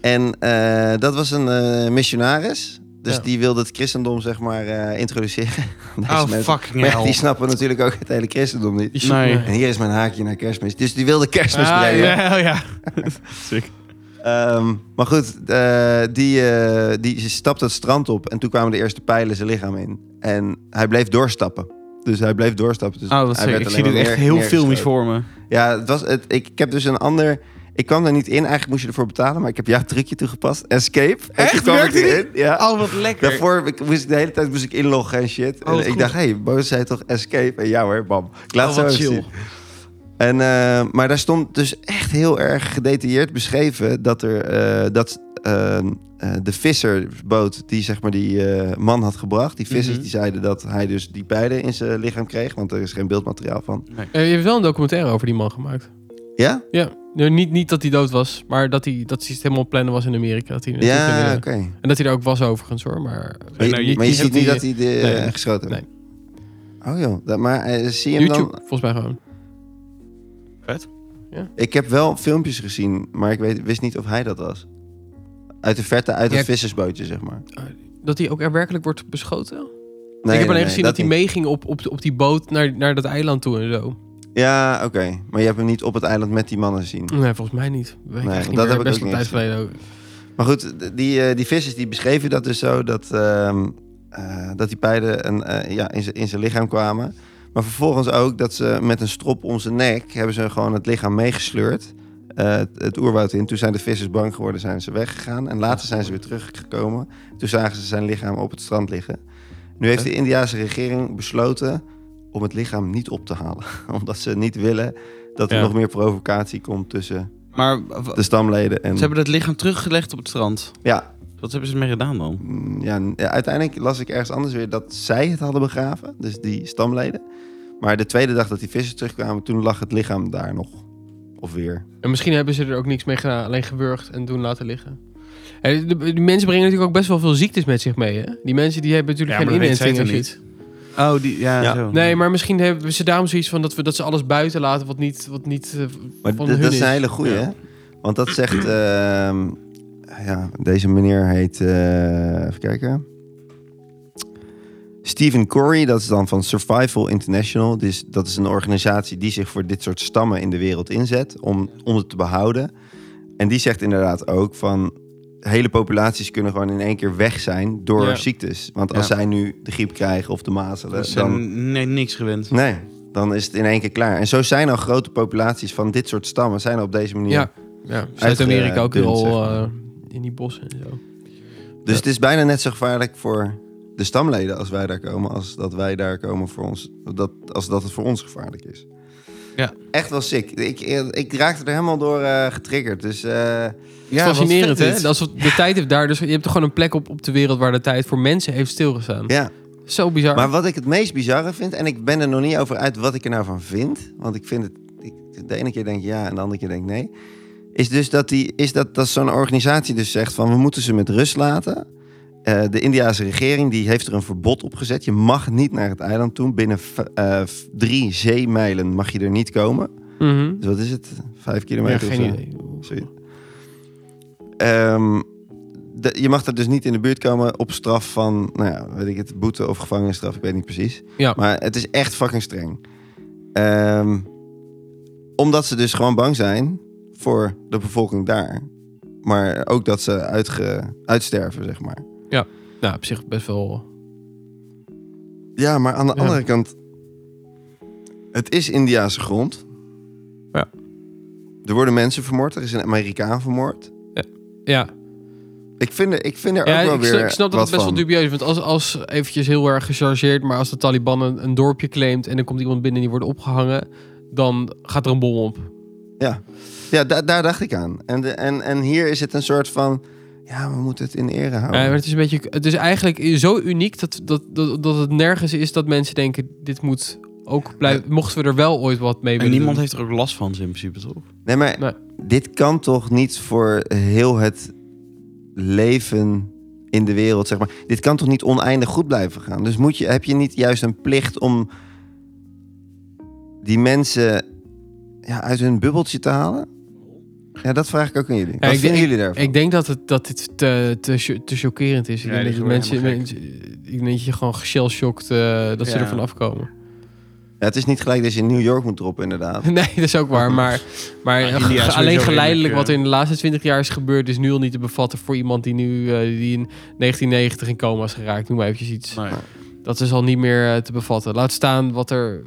B: En eh, dat was een eh, missionaris. Dus
C: Ja.
B: die wilde het christendom, zeg maar, eh, introduceren. aan deze
A: Oh,
B: mensen.
A: fucking
B: Maar ja,
A: hell.
B: die snappen natuurlijk ook het hele christendom niet.
C: Die
A: Nee.
B: En hier is mijn haakje naar kerstmis. Dus die wilde kerstmis
A: Ah,
B: brengen.
A: ja, ja. sick.
B: Ehm, maar goed, eh, die, eh, die ze stapte het strand op en toen kwamen de eerste pijlen zijn lichaam in. En hij bleef doorstappen. Dus hij bleef doorstappen. Dus
A: Oh, dat
B: hij
A: sick.
B: werd
A: Ik zie dit
B: alleen
A: echt
B: maar neer-
A: heel
B: neergestoten.
A: filmisch voor me.
B: Ja, het was, het, ik, ik heb dus een ander... Ik kwam daar niet in, eigenlijk moest je ervoor betalen, maar ik heb jouw trucje toegepast. Escape. En toen
A: Echt?
B: kwam ik
A: Werkte die?
B: erin. Ja.
A: Oh, wat lekker.
B: Daarvoor ik, moest ik de hele tijd moest ik inloggen en shit.
A: Oh, wat
B: en ik
A: goed.
B: dacht, hé, hey, Boos zei toch escape? En ja hoor, bam. Ik laat
A: Oh,
B: het
A: wat
B: zo even
A: chill.
B: zien. En, eh, maar daar stond dus echt heel erg gedetailleerd beschreven dat, er, eh, dat eh, eh, de visserboot die zeg maar die eh, man had gebracht, die vissers
A: Mhm.
B: die zeiden dat hij dus die pijlen in zijn lichaam kreeg, want er is geen beeldmateriaal van.
C: Eh, je hebt wel een documentaire over die man gemaakt.
B: Ja?
C: Ja. Nou, niet, niet dat hij dood was, maar dat hij, dat hij het helemaal aan het plannen was in Amerika. Dat hij, dat hij,
B: Ja,
C: eh,
B: oké.
C: En dat hij er ook was overigens hoor. Maar,
B: Maar, nou,
A: nee,
B: je-
A: je-
B: maar je ziet niet dat hij de,
C: nee.
B: eh, geschoten
C: Nee.
B: heeft. Oh joh, dat, maar eh, zie je hem
C: YouTube,
B: dan
C: volgens mij gewoon.
B: Ik heb wel filmpjes gezien, maar ik weet, wist niet of hij dat was. Uit de verte, uit het
C: Ja, ik-
B: vissersbootje, zeg maar.
C: Dat hij ook er werkelijk wordt beschoten?
B: Nee,
C: ik heb alleen
B: nee, nee,
C: gezien dat, hij
B: niet.
C: meeging op, op, op die boot naar, naar dat eiland toe en zo.
B: Ja, oké. Maar je hebt hem niet op het eiland met die mannen gezien.
C: Nee, volgens mij niet. Weet ik
B: Nee,
C: echt niet
B: dat
C: meer.
B: heb ik
C: Best
B: ook
C: een
B: niet
C: tijd geleden ook.
B: Maar goed, d- die, eh, die vissers die beschreven dat dus zo, dat, ehm, eh, dat die pijlen een, eh, ja, in zijn- in zijn lichaam kwamen. Maar vervolgens ook dat ze met een strop om zijn nek hebben ze gewoon het lichaam meegesleurd. eh, het, het oerwoud in. Toen zijn de vissers bang geworden, zijn ze weggegaan. En later zijn ze weer teruggekomen. Toen zagen ze zijn lichaam op het strand liggen. Nu heeft de Indiase regering besloten om het lichaam niet op te halen. Omdat ze niet willen dat er
C: Ja.
B: nog meer provocatie komt tussen
A: Maar w-
B: de stamleden. En...
A: ze hebben dat lichaam teruggelegd op het strand.
B: Ja,
A: Wat hebben ze ermee gedaan dan?
B: Mm, Ja, n- ja, uiteindelijk las ik ergens anders weer dat zij het hadden begraven, dus die stamleden. Maar de tweede dag dat die vissers terugkwamen, toen lag het lichaam daar nog. Of weer.
C: En misschien hebben ze er ook niks mee gedaan, alleen gewurgd en toen laten liggen. En de, die mensen brengen natuurlijk ook best wel veel ziektes met zich mee. Hè? Die mensen die hebben natuurlijk
A: Ja,
C: geen
A: maar dat weet zij
C: inenting en
A: toch
C: shit.
A: Oh, die, ja,
B: Ja.
A: zo.
C: Nee, maar misschien hebben ze daarom zoiets van dat, we, dat ze alles buiten laten wat niet, wat niet eh,
B: Maar
C: van
B: d-
C: hun
B: dat is een
C: is.
B: hele goeie,
C: Ja.
B: hè? Want dat zegt... ehm, ja, deze meneer heet... eh, even kijken. Stephen Corey, dat is dan van Survival International. Dus dat is een organisatie die zich voor dit soort stammen in de wereld inzet. Om, om het te behouden. En die zegt inderdaad ook van... Hele populaties kunnen gewoon in één keer weg zijn door
C: Ja. Dus
B: ziektes. Want als
A: Ja.
B: zij nu de griep krijgen of de mazelen...
A: Ze
B: dan,
A: zijn nee, niks gewend.
B: Nee, dan is het in één keer klaar. En zo zijn al grote populaties van dit soort stammen zijn al op deze manier.
C: Ja, ja. Zuid-Amerika ook
B: Uitgedund,
C: heel
B: eh, zeg maar.
C: eh, in die bossen en zo.
B: Dus het is bijna net zo gevaarlijk voor de stamleden als wij daar komen, als dat wij daar komen voor ons, dat, als dat het voor ons gevaarlijk is.
A: Ja.
B: Echt wel sick. Ik, ik raakte er helemaal door eh, getriggerd. Dus eh,
A: Ja, wat
C: Fascinerend,
A: vet
C: hè?
A: dit.
C: Dat is wat- de tijd heeft daar dus... Je hebt toch gewoon een plek op, op de wereld waar de tijd voor mensen heeft stilgestaan.
B: ja.
C: Zo bizar.
B: Maar wat ik het meest bizarre vind, en ik ben er nog niet over uit wat ik er nou van vind, want ik vind het, ik, de ene keer denk ik ja en de andere keer denk ik nee, is dus dat, die, is dat, dat zo'n organisatie dus zegt van we moeten ze met rust laten. Eh, de Indiase regering die heeft er een verbod op gezet. Je mag niet naar het eiland toe. Binnen v- eh, v- drie zeemijlen mag je er niet komen.
C: Mhm.
B: Dus wat is het? Vijf
C: Ja,
B: kilometer of
C: geen
B: zo?
C: idee.
B: Zoiets. Ehm, de- je mag er dus niet in de buurt komen op straf van, nou ja, weet ik het, boete of gevangenisstraf, ik weet niet precies.
C: Ja.
B: Maar het is echt fucking streng. Ehm, omdat ze dus gewoon bang zijn voor de bevolking daar. Maar ook dat ze uitge, uitsterven, zeg maar.
C: Nou, op zich best wel...
B: Ja, maar aan de
C: Ja.
B: andere kant, het is Indiase grond.
C: Ja.
B: Er worden mensen vermoord, er is een Amerikaan vermoord.
C: Ja,
B: Ik vind er, ik vind er
C: ja
B: ook wel
C: ik, snap,
B: weer
C: ik snap
B: wat
C: dat het best
B: van.
C: wel dubieus is. Want als, als eventjes heel erg gechargeerd... maar als de Taliban een, een dorpje claimt... en er komt iemand binnen die wordt opgehangen... dan gaat er een bom op.
B: Oh. Ja, da- daar dacht ik aan. En, de, en, en hier is het een soort van... Ja, we moeten het in ere houden.
C: Ja, Eh, maar het is een beetje. Het is eigenlijk zo uniek dat, dat, dat, dat het nergens is dat mensen denken: dit moet ook blijven. Mochten we er wel ooit wat mee
A: En
C: willen
A: niemand
C: doen.
A: heeft er ook last van, ze in principe toch?
B: nee, maar
C: Nee.
B: dit kan toch niet voor heel het leven in de wereld, zeg maar. Dit kan toch niet oneindig goed blijven gaan? Dus moet je, heb je niet juist een plicht om die mensen ja, uit hun bubbeltje te halen? Ja, dat vraag ik ook aan jullie. Wat
C: ik
B: vinden
C: denk-
B: jullie daarvan?
C: Ik denk dat, het, dat dit te, te, cho- te chockerend is. Ik
A: Ja,
C: denk
A: die
C: dat
A: worden
C: mensen,
A: helemaal
C: mensen- ik denk dat je gewoon shell-shocked eh, dat ze
A: Ja.
C: ervan afkomen.
B: Ja, het is niet gelijk dat je in New York moet droppen, inderdaad.
C: Nee, dat is ook waar. Maar, maar
A: Ja,
C: ge-
A: Ah, India is sowieso
C: alleen
A: redelijk,
C: geleidelijk
A: eh,
C: wat er in de laatste 20 jaar is gebeurd, is nu al niet te bevatten voor iemand die nu eh, die in 1990 in coma is geraakt. Noem maar eventjes iets.
A: Nee.
C: Dat is al niet meer eh, te bevatten. Laat staan wat er.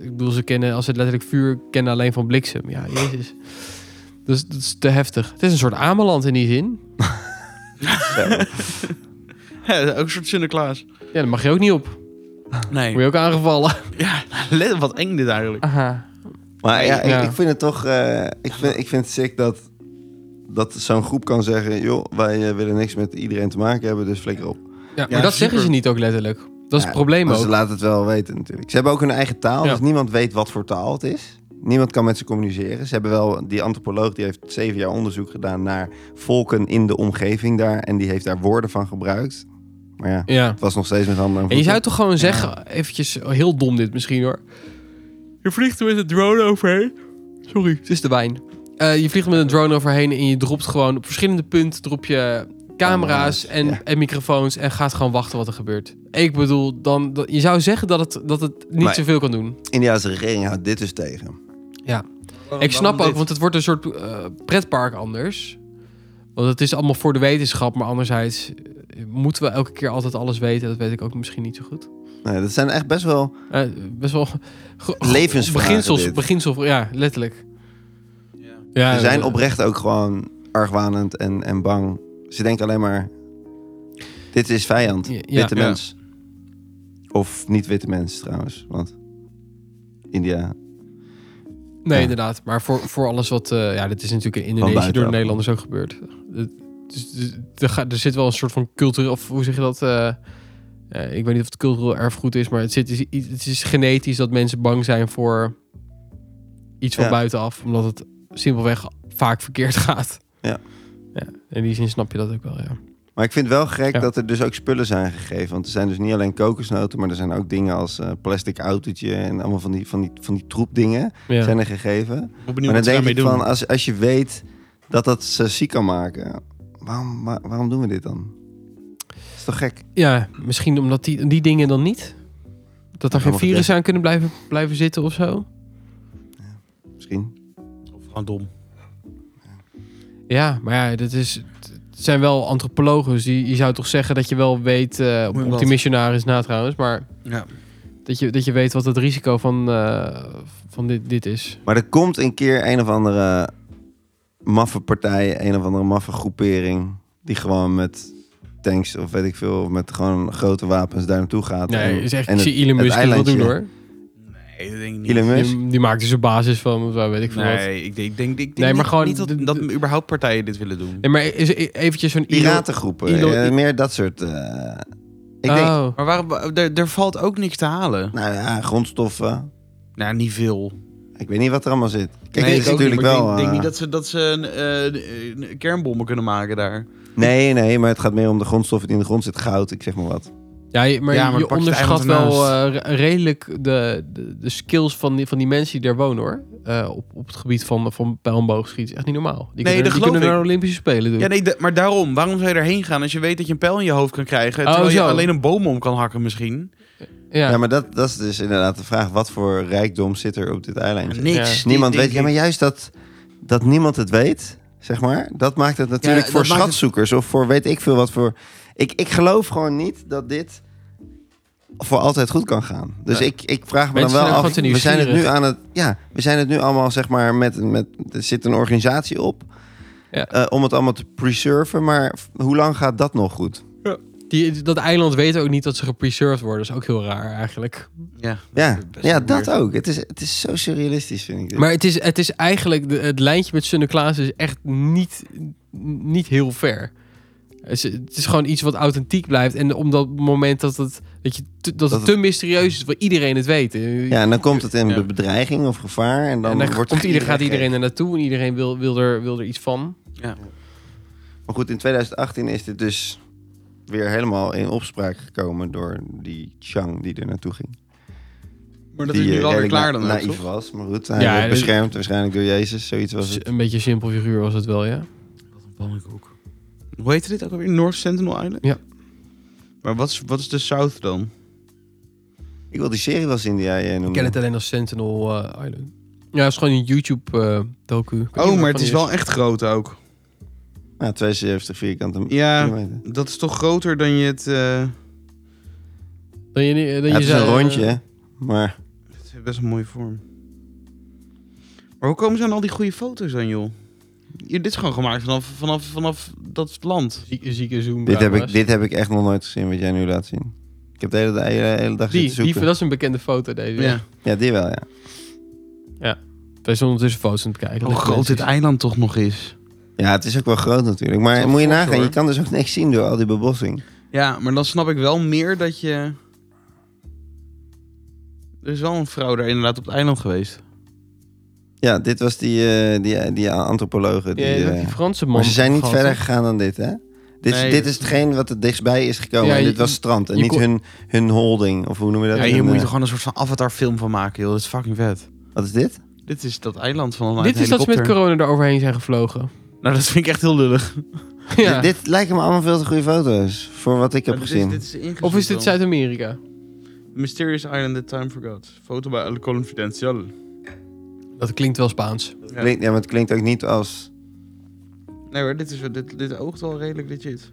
C: Ik bedoel, ze kennen als ze letterlijk vuur kennen alleen van bliksem. Ja, jezus. Dus dat is te heftig. Het is een soort Ameland in die zin.
A: Ja, ook een soort Sinterklaas.
C: Ja, daar mag je ook niet op.
A: Nee.
C: Word je ook aangevallen.
A: Ja, let- wat eng dit eigenlijk.
C: Aha.
B: Maar ja, ik,
C: Ja.
B: ik vind het toch... eh, ik, vind, ik vind het sick dat, dat zo'n groep kan zeggen... joh, wij eh, willen niks met iedereen te maken hebben, dus flikker op.
C: Ja, maar
A: Ja,
C: dat zeggen
A: super.
C: ze niet ook letterlijk. Dat is
B: Ja,
C: het probleem
B: maar
C: ook.
B: Ze laten het wel weten natuurlijk. Ze hebben ook hun eigen taal,
C: Ja.
B: dus niemand weet wat voor taal het is. Niemand kan met ze communiceren. Ze hebben wel... Die antropoloog die heeft zeven jaar onderzoek gedaan naar volken in de omgeving daar. En die heeft daar woorden van gebruikt. Maar ja,
C: Ja.
B: het was nog steeds met handen en
C: En je zou
B: voeten.
C: toch gewoon zeggen, eventjes oh, heel dom dit misschien hoor. Je vliegt er met een drone overheen. Sorry, het is de wijn. Eh, je vliegt er met een drone overheen en je dropt gewoon op verschillende punten drop je camera's
B: Camera's,
C: en,
B: ja.
C: en microfoons en gaat gewoon wachten wat er gebeurt. Ik bedoel, dan, dat- je zou zeggen dat het, dat het niet
B: Maar-
C: zoveel kan doen.
B: De Indiaanse regering houdt dit dus tegen.
C: Ik snap ook, want het wordt een soort eh, pretpark anders. Want het is allemaal voor de wetenschap, maar anderzijds eh, moeten we elke keer altijd alles weten. Dat weet ik ook misschien niet zo goed.
B: Nee, dat zijn echt best wel...
C: Eh, best wel ge- ge-
B: Levensvragen
C: Oh, Beginsels,
B: dit.
C: beginsel, ja, letterlijk. Ja,
B: Ze zijn
C: eh,
B: oprecht ook gewoon argwanend en, en bang. Ze denken alleen maar: dit is vijand,
C: Ja,
B: witte
A: ja.
B: mens. Of niet witte mens trouwens, want India.
C: Nee,
B: ja.
C: inderdaad. Maar voor, voor alles wat. eh, ja, dit is natuurlijk in Indonesië
B: buitenaf.
C: door de Nederlanders ook gebeurd. Het- Dus, dus- er, gaat- er zit wel een soort van cultureel. Of hoe zeg je dat? eh, eh, ik weet niet of het cultureel erfgoed is, maar het, zit, is iets- het is genetisch dat mensen bang zijn voor iets van
B: Ja.
C: buitenaf. Omdat het simpelweg vaak verkeerd gaat.
B: Ja.
C: ja. In die zin snap je dat ook wel, ja.
B: Maar ik vind wel gek
C: Ja.
B: dat er dus ook spullen zijn gegeven. Want er zijn dus niet alleen kokosnoten, maar er zijn ook dingen als eh, plastic autootje en allemaal van die, van die, van die troepdingen
C: ja.
B: zijn er gegeven.
A: Ik ben benieuwd wat
B: Maar dan
A: ze
B: denk
A: daarmee
B: ik
A: doen.
B: van, als, als je weet dat dat ze ziek kan maken, waarom, waar- waarom doen we dit dan? Dat is toch gek?
C: Ja, misschien omdat die, die dingen dan niet. Dat er
B: Ja,
C: geen
B: maar dat-
C: virus aan kunnen blijven, blijven zitten of zo.
B: Misschien.
A: Of gewoon dom.
C: Ja, maar ja, dat is, het zijn wel antropologen. Dus die- je zou toch zeggen dat je wel weet... eh,
A: Hoe en
C: op, op die
A: wat.
C: missionaris na trouwens. Maar
A: Ja.
C: dat je, dat je weet wat het risico van, eh, van dit, dit is.
B: Maar er komt een keer een of andere maffe partijen, een of andere maffe groepering, die gewoon met tanks of weet ik veel, of met gewoon grote wapens daar naartoe gaat.
C: Nee,
B: En-
C: is echt,
B: en
C: ik
B: het-
C: zie Elon
B: het
C: Musk dat wel doen
B: eilandje.
C: hoor.
A: Nee, dat denk ik niet.
B: Elon Musk?
C: Die, die maakt dus een basis van, wat weet ik veel wat.
A: Nee, ik denk, ik denk, ik denk
C: Nee, maar
A: niet,
C: gewoon
A: niet dat,
C: de-
A: dat überhaupt partijen dit willen doen.
C: Nee, maar is e- eventjes zo'n Elon-
B: Piratengroepen,
C: Elon-
B: eh, meer dat soort... eh, ik denk,
C: Oh.
A: Maar waarom, er, er valt ook niks te halen.
B: nou ja, grondstoffen.
A: Nou, niet veel.
B: Ik weet niet wat er allemaal zit. Kijk,
A: Nee,
B: dit is
A: ook niet,
B: natuurlijk
A: maar
B: wel...
A: Ik denk, denk
B: eh,
A: niet dat ze, dat ze een, eh, een- een kernbommen kunnen maken daar.
B: Nee, nee, maar het gaat meer om de grondstoffen die in de grond zitten. Goud, ik zeg maar wat.
C: Ja, je- maar,
A: Ja, maar dan
C: je
A: pak je het
C: onderschat
A: eiland
C: wel eh, re- redelijk de, de, de skills van die, van die mensen die daar wonen hoor. Eh, op, op het gebied van, van pijl en boogschieten. Echt niet normaal.
A: Nee,
C: Die kunnen,
A: dat
C: die
A: geloof
C: kunnen
A: ik.
C: naar de Olympische Spelen doen.
A: Ja, nee, da- maar daarom. Waarom zou je erheen gaan als je weet dat je een pijl in je hoofd kan krijgen...
C: Oh,
A: terwijl je
C: zo.
A: alleen een boom om kan hakken misschien?
C: ja.
B: Ja, maar dat, dat is dus inderdaad de vraag. Wat voor rijkdom zit er op dit eiland?
A: Niks.
C: Ja.
B: Niemand
A: Dit-
B: weet. Ja, maar juist dat, dat niemand het weet, zeg maar. Dat maakt het natuurlijk
A: Ja,
B: voor
A: dat maakt het-
B: schatzoekers of voor weet ik veel wat voor. Ik, ik geloof gewoon niet dat dit voor altijd goed kan gaan. Dus
C: Nee.
B: ik, ik vraag me
C: Mensen
B: dan
C: zijn
B: wel
C: ook
B: af.
C: gewoon te
B: We zijn het nu
C: nieuwsgierig.
B: aan het. Ja, we zijn het nu allemaal zeg maar met. met er zit een organisatie op.
C: Ja.
B: eh, om het allemaal te preserven. Maar f- hoe lang gaat dat nog goed?
C: Die, dat eiland weet ook niet dat ze gepreserved worden. Dat is ook heel raar eigenlijk.
A: Ja,
B: Ja,
A: best
B: ja
A: wel
B: dat
A: weird.
B: ook. Het is, het is zo surrealistisch, vind ik. dit.
C: Maar het is, het is eigenlijk, de- het lijntje met Sunneklaas is echt niet, niet heel ver. Het is, het is gewoon iets wat authentiek blijft. En om dat moment dat het, dat je te- dat het
B: Dat
C: te mysterieus is, wil iedereen het weten.
B: Ja, en dan komt het in
A: Ja.
B: be- bedreiging of gevaar. En dan,
C: en dan
B: wordt
C: komt iedereen, gaat
B: gereageerd.
C: iedereen er naartoe en iedereen wil, wil, er, wil er iets van.
B: Maar goed, in 2018 is dit dus weer helemaal in opspraak gekomen door die Chang die er naartoe ging.
A: Maar dat
B: die
A: is nu
B: eh,
A: wel weer
B: redelijk
A: klaar
B: na-
A: dan ook,
B: naïef
A: toch?
B: was, maar goed, hij
C: Ja,
B: werd
C: dat-
B: beschermd waarschijnlijk door Jezus, zoiets was
C: Dus
B: het.
C: een beetje een simpel figuur was het wel, ja.
A: Hoe heette dit ook alweer? North Sentinel Island?
C: Ja.
A: Maar wat is, wat is de South dan?
B: Ik wil die serie wel zien die jij eh,
C: Ik ken
B: noemde.
C: het alleen als Sentinel eh, Island. Ja, het is gewoon een eh, YouTube-docu.
A: Oh, maar het is wel echt groot ook.
B: Nou, 72 vierkante
A: Ja.
B: kilometer.
A: Dat is toch groter dan je het... eh,
C: Dan je, niet- dan
B: Ja,
C: je
B: het is
C: zei,
B: dus een
C: eh,
B: rondje, hè. maar
A: Het heeft best een mooie vorm. Maar hoe komen ze aan al die goede foto's dan, joh? Hier, dit is gewoon gemaakt vanaf, vanaf, vanaf dat land.
C: Zieke, zieke zoom.
B: dit heb, ik,
C: camera's.
B: dit heb ik echt nog nooit gezien wat jij nu laat zien. Ik heb de hele, de hele, hele dag
C: die,
B: zitten
C: die,
B: zoeken.
C: dat is een bekende foto deze.
A: Ja.
B: Ja, die wel, ja.
C: Wij zijn ondertussen foto's aan het kijken.
B: Oh,
A: Hoe
C: Dat
A: groot
C: mensen-
A: dit eiland toch nog is.
B: Ja, het is ook wel groot natuurlijk.
A: Het
B: Maar
A: is
B: moet
A: wel
B: je
A: fors,
B: nagaan, je
A: hoor.
B: kan dus ook niks zien door al die bebossing.
A: Ja, maar dan snap ik wel meer dat je... Er is wel een vrouw daar inderdaad op het eiland geweest.
B: Ja, dit was die, eh, die, die antropologen. Die,
C: Ja, je hebt
B: eh,
C: die Franse man.
B: maar ze zijn niet
C: gehad,
B: verder
C: hè?
B: gegaan dan dit, hè? Dit, is-
A: Nee.
B: dit is hetgeen wat het dichtstbij is gekomen.
C: dus- Ja,
B: en
C: je-
B: dit was strand. En
C: je
B: niet
C: kon-
B: hun, hun holding, of hoe noem je dat?
A: Ja, hier
B: Hun,
A: moet je
B: eh,
A: toch gewoon een soort van avatarfilm van maken, joh. Dat is fucking vet.
B: Wat is dit?
A: Dit is dat eiland van een
C: Dit is dat ze met corona eroverheen zijn gevlogen.
A: Nou, dat vind ik echt heel lullig.
C: ja.
B: Dit, dit lijken me allemaal veel te goede foto's. Voor wat ik heb gezien.
C: Of is dit Zuid-Amerika?
A: Mysterious Island that time forgot. Foto bij El Confidencial.
C: Dat klinkt wel Spaans.
A: Ja.
B: Klinkt, ja, maar het klinkt ook niet als...
A: Nee hoor, dit, is, dit, dit oogt wel redelijk legit.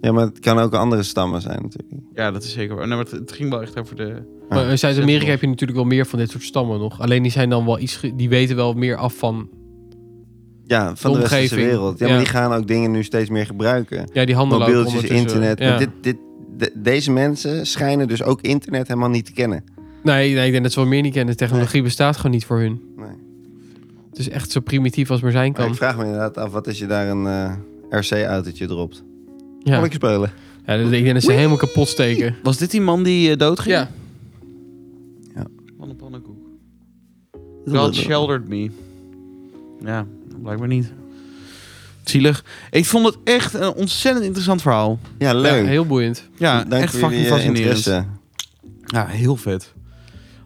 B: Ja, maar het kan ook andere stammen zijn natuurlijk.
A: Ja, dat is zeker waar. Nee, maar het, het ging wel echt over de...
B: Ja.
C: Maar in Zuid-Amerika
A: Zettel.
C: heb je natuurlijk wel meer van dit soort stammen nog. Alleen die zijn dan wel iets... ge- Die weten wel meer af van...
B: Ja, van de, westerse
C: omgeving.
B: wereld. Ja,
C: Ja.
B: maar die gaan ook dingen nu steeds meer gebruiken.
C: Ja, die handelen ook
B: Mobieltjes,
C: ondertussen.
B: internet.
C: Ja.
B: Maar dit, dit, de- deze mensen schijnen dus ook internet helemaal niet te kennen.
C: Nee, nee, ik denk dat ze wel meer niet kennen. Technologie bestaat gewoon niet voor hun.
B: Nee.
C: Het is echt zo primitief als maar zijn
B: Maar
C: kan.
B: ik vraag me inderdaad af, wat als je daar een eh, RC-autootje dropt?
C: Ja.
B: Kan ik spelen?
C: Ja, dat- ik denk dat ze helemaal kapot steken.
A: Was dit die man die eh, doodging?
C: Ja.
A: Van een pannenkoek. God sheltered me. Ja, blijkbaar niet. Zielig. Ik vond het echt een ontzettend interessant verhaal.
B: Ja,
C: ja,
B: leuk.
C: heel boeiend.
A: Ja,
B: Dank
A: echt
B: voor jullie,
A: fucking
B: eh,
A: fascinerend.
B: interesse.
A: Ja, heel vet.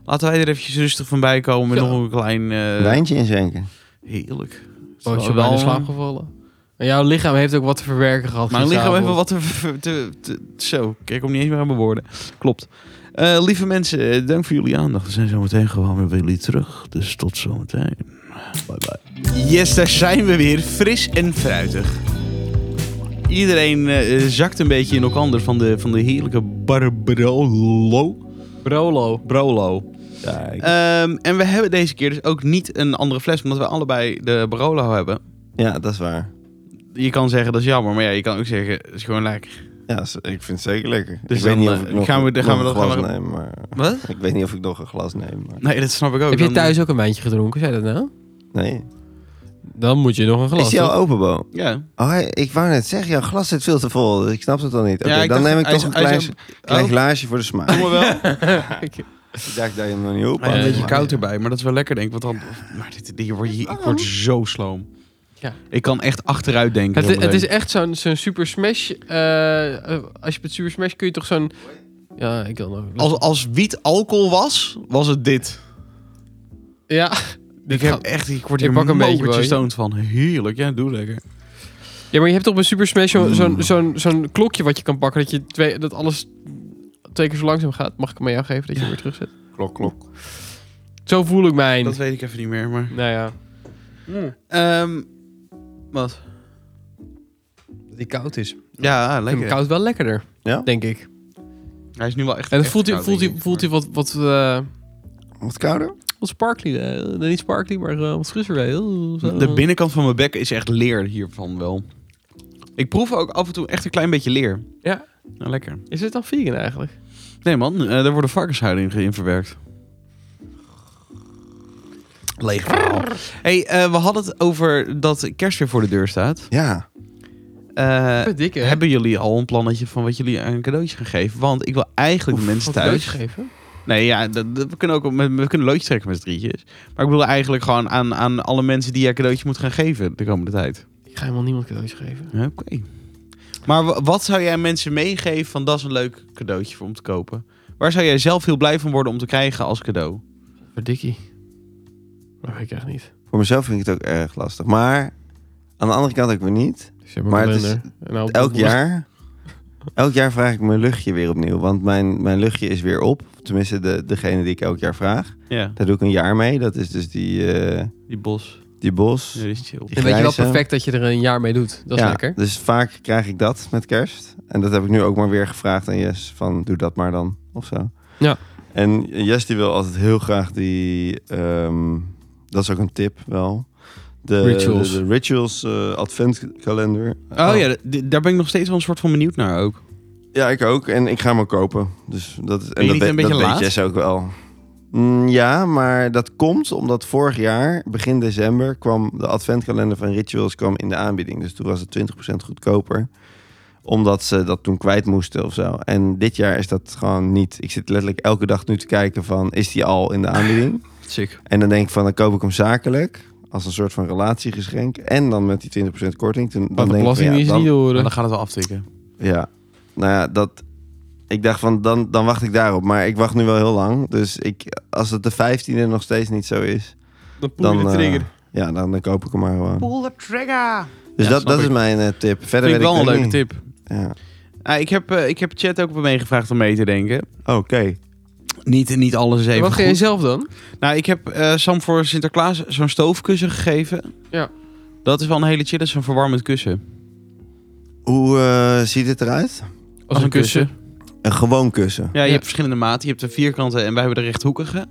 A: Laten wij er eventjes rustig van bij komen met
C: Ja.
A: nog een klein... eh,
B: Wijntje inschenken.
A: Heerlijk.
C: Oh, is je wel in slaap gevallen? En jouw lichaam heeft ook wat te verwerken gehad.
A: Mijn lichaam
C: gisteravond.
A: even wat te, te, te- Zo, kijk om niet eens meer aan mijn woorden. Klopt. Eh, lieve mensen, eh, dank voor jullie aandacht. We zijn zo meteen gewoon weer bij jullie terug. Dus tot zometeen. Bye bye. Yes, daar zijn we weer. Fris en fruitig. Iedereen eh, zakt een beetje in elkaar van de, van de heerlijke Barbarolo.
C: Brolo.
A: Brolo.
B: Ja, ik-
A: Ehm, en we hebben deze keer dus ook niet een andere fles, omdat we allebei de Barolo hebben.
B: ja, dat is waar.
A: Je kan zeggen dat is jammer, maar ja, je kan ook zeggen het is gewoon lekker.
B: Ja, s- ik vind het zeker lekker.
A: Dus
B: ik
A: dan,
B: weet niet
A: eh,
B: of ik nog,
A: gaan we-
B: nog
A: gaan we
B: een
A: dat- gaan
B: glas
A: we-
B: neem, maar...
A: Wat?
B: Ik weet niet of ik nog een glas neem, maar...
A: Nee, dat snap ik ook.
C: Heb je
A: Dan-
C: thuis ook een wijntje gedronken? Zei dat nou?
B: Nee.
C: Dan moet je nog een glas.
B: Is die al
C: toch?
B: open, Bo?
A: Ja.
B: Oh, ik wou net zeggen, jouw glas zit veel te vol. dus Ik snap het al niet. Oké,
A: Ja, ik
B: dan
A: dacht-
B: neem ik
A: hij
B: toch
A: is-
B: een
A: hij is
B: klein,
A: een-
B: klein
A: oh.
B: glaasje voor de smaak.
A: Doe maar wel.
B: Ik dacht dat je hem nog niet op
A: Maar
B: had.
A: een beetje
B: maar-
A: koud erbij, maar dat is wel lekker denk ik. Want dan, maar dit, dit, word je, ik word zo sloom.
C: Ja.
A: Ik kan echt achteruit denken.
C: Het,
A: zo
C: het is
A: meteen.
C: echt zo'n zo'n Super Smash. eh, eh, als je met Super Smash kun je toch zo'n. Ja, ik wil nog.
A: als, als wiet alcohol was, was het dit.
C: Ja.
A: Ik, heb echt, ik word hier
C: Ik pak een beetje,
A: mokertje
C: boy.
A: stoned van. Heerlijk, ja, doe lekker.
C: Ja, maar je hebt toch bij Super Smash zo'n
B: Mm.
A: Hmm.
C: zo'n zo'n zo'n klokje wat je kan pakken. Dat, je twee, dat alles twee keer zo langzaam gaat. Mag ik hem aan jou geven dat je
A: Ja.
C: hem weer terugzet?
B: Klok, klok.
C: Zo voel ik mijn.
A: Dat weet ik even niet meer, maar...
C: Nou ja.
A: Ehm, wat?
C: Dat die koud is. Ik
A: Ja,
C: vind hem
A: lekker.
C: koud wel lekkerder.
B: Ja?
C: Denk ik.
A: Hij is nu wel echt
C: En dan
A: echt
C: voelt hij,
A: koud,
C: voelt hij,
A: denk ik,
C: voelt hij wat, wat, eh,
B: Wat kouder?
C: wat sparkly. eh, nee, niet sparkly, maar eh, wat frisser bij. Heel-
A: maar-
C: zo.
A: De binnenkant van mijn bek is echt leer hiervan wel. Ik proef ook af en toe echt een klein beetje leer.
C: Ja.
A: Nou, lekker.
C: Is het dan vegan eigenlijk?
A: Nee man, eh, daar worden varkenshuiden in, ge- in verwerkt. Leeg verhaal. hey, eh, we hadden het over dat kerst weer voor de deur staat.
B: Ja.
A: Eh,
C: Dikke.
A: hebben jullie al een plannetje van wat jullie aan cadeautje gaan geven? Want ik wil eigenlijk de mensen thuis...
C: geven?
A: Nee, ja, dat, dat- we kunnen ook met, we kunnen loodjes trekken met z'n drietjes. Maar ik wil eigenlijk gewoon aan, aan alle mensen die je een cadeautje moet gaan geven de komende tijd.
C: Ik ga helemaal niemand cadeautjes geven.
A: Ja, Oké. Maar wa- wat zou jij mensen meegeven van dat is een leuk cadeautje voor om te kopen? Waar zou jij zelf heel blij van worden om te krijgen als cadeau?
C: Voor Dikkie. Dat weet ik echt niet.
B: Voor mezelf vind ik het ook erg lastig. Maar aan de andere kant ook weer niet.
C: Dus je hebt
B: Maar
C: een
B: het is-
C: kalender. En nou,
B: Elk jaar... Elk jaar vraag ik mijn luchtje weer opnieuw. Want mijn, mijn luchtje is weer op. Tenminste, de, degene die ik elk jaar vraag.
A: Ja,
B: Daar doe ik een jaar mee. Dat is dus die, eh,
A: die bos.
B: die bos.
A: Ja, die is chill.
C: En weet je wel
B: grijze.
C: perfect dat je er een jaar mee doet. Dat is lekker.
B: Dus vaak krijg ik dat met kerst. En dat heb ik nu ook maar weer gevraagd aan Jess. Van doe dat maar dan. Of zo.
C: Ja.
B: En Jess die wil altijd heel graag die... ehm, dat is ook een tip wel. De
C: Rituals.
B: De, de rituals eh, adventkalender.
A: Oh ja, d- daar ben ik nog steeds wel een soort van benieuwd naar ook.
B: Ja, ik ook. En ik ga hem ook kopen. Dus dat, en
A: je
B: dat,
A: niet
B: weet-
A: een beetje
B: dat weet
A: laat?
B: Jess ook wel. Mm, ja, maar dat komt omdat vorig jaar, begin december, kwam de adventkalender van Rituals kwam in de aanbieding. Dus toen was het 20% goedkoper. Omdat ze dat toen kwijt moesten of zo. En dit jaar is dat gewoon niet. Ik zit letterlijk elke dag nu te kijken van, is die al in de aanbieding?
A: Sick.
B: En dan denk ik van, dan koop ik hem zakelijk. Als een soort van relatiegeschenk. En dan met die 20% korting. Toen, dan denk ik
C: Maar de
B: van,
C: belasting
B: ja,
C: is
B: dan-
C: niet
A: Maar
C: horen.
A: dan gaat het wel aftikken.
B: ja, nou ja, dat. Ik dacht van, dan, dan wacht ik daarop. Maar ik wacht nu wel heel lang. Dus ik, als het de 15e nog steeds niet zo is,
C: Dan poel
B: dan.
C: je de
B: eh,
C: trigger.
B: ja, dan, dan koop ik hem maar gewoon.
A: Pull the trigger!
B: Dus
A: Ja,
B: dat,
A: snap
B: dat is
A: ik.
B: mijn eh, tip. Verder
A: Vind ik
B: weet
A: wel een
B: het ook
A: leuke
B: niet.
A: tip.
B: Ja.
A: Ah, ik, heb, eh, ik heb chat ook meegevraagd om mee te denken.
B: Oké.
A: Niet, niet alles is even
C: wat ga je
A: goed.
C: zelf dan?
A: Nou, ik heb eh, Sam voor Sinterklaas zo'n stoofkussen gegeven.
C: Ja.
A: Dat is wel een hele chill, dat is een verwarmend kussen.
B: Hoe eh, ziet het eruit?
C: Als een kussen.
B: Een gewoon kussen.
A: Ja, je
C: Ja.
A: hebt verschillende maten. Je hebt de vierkante en wij hebben de rechthoekige.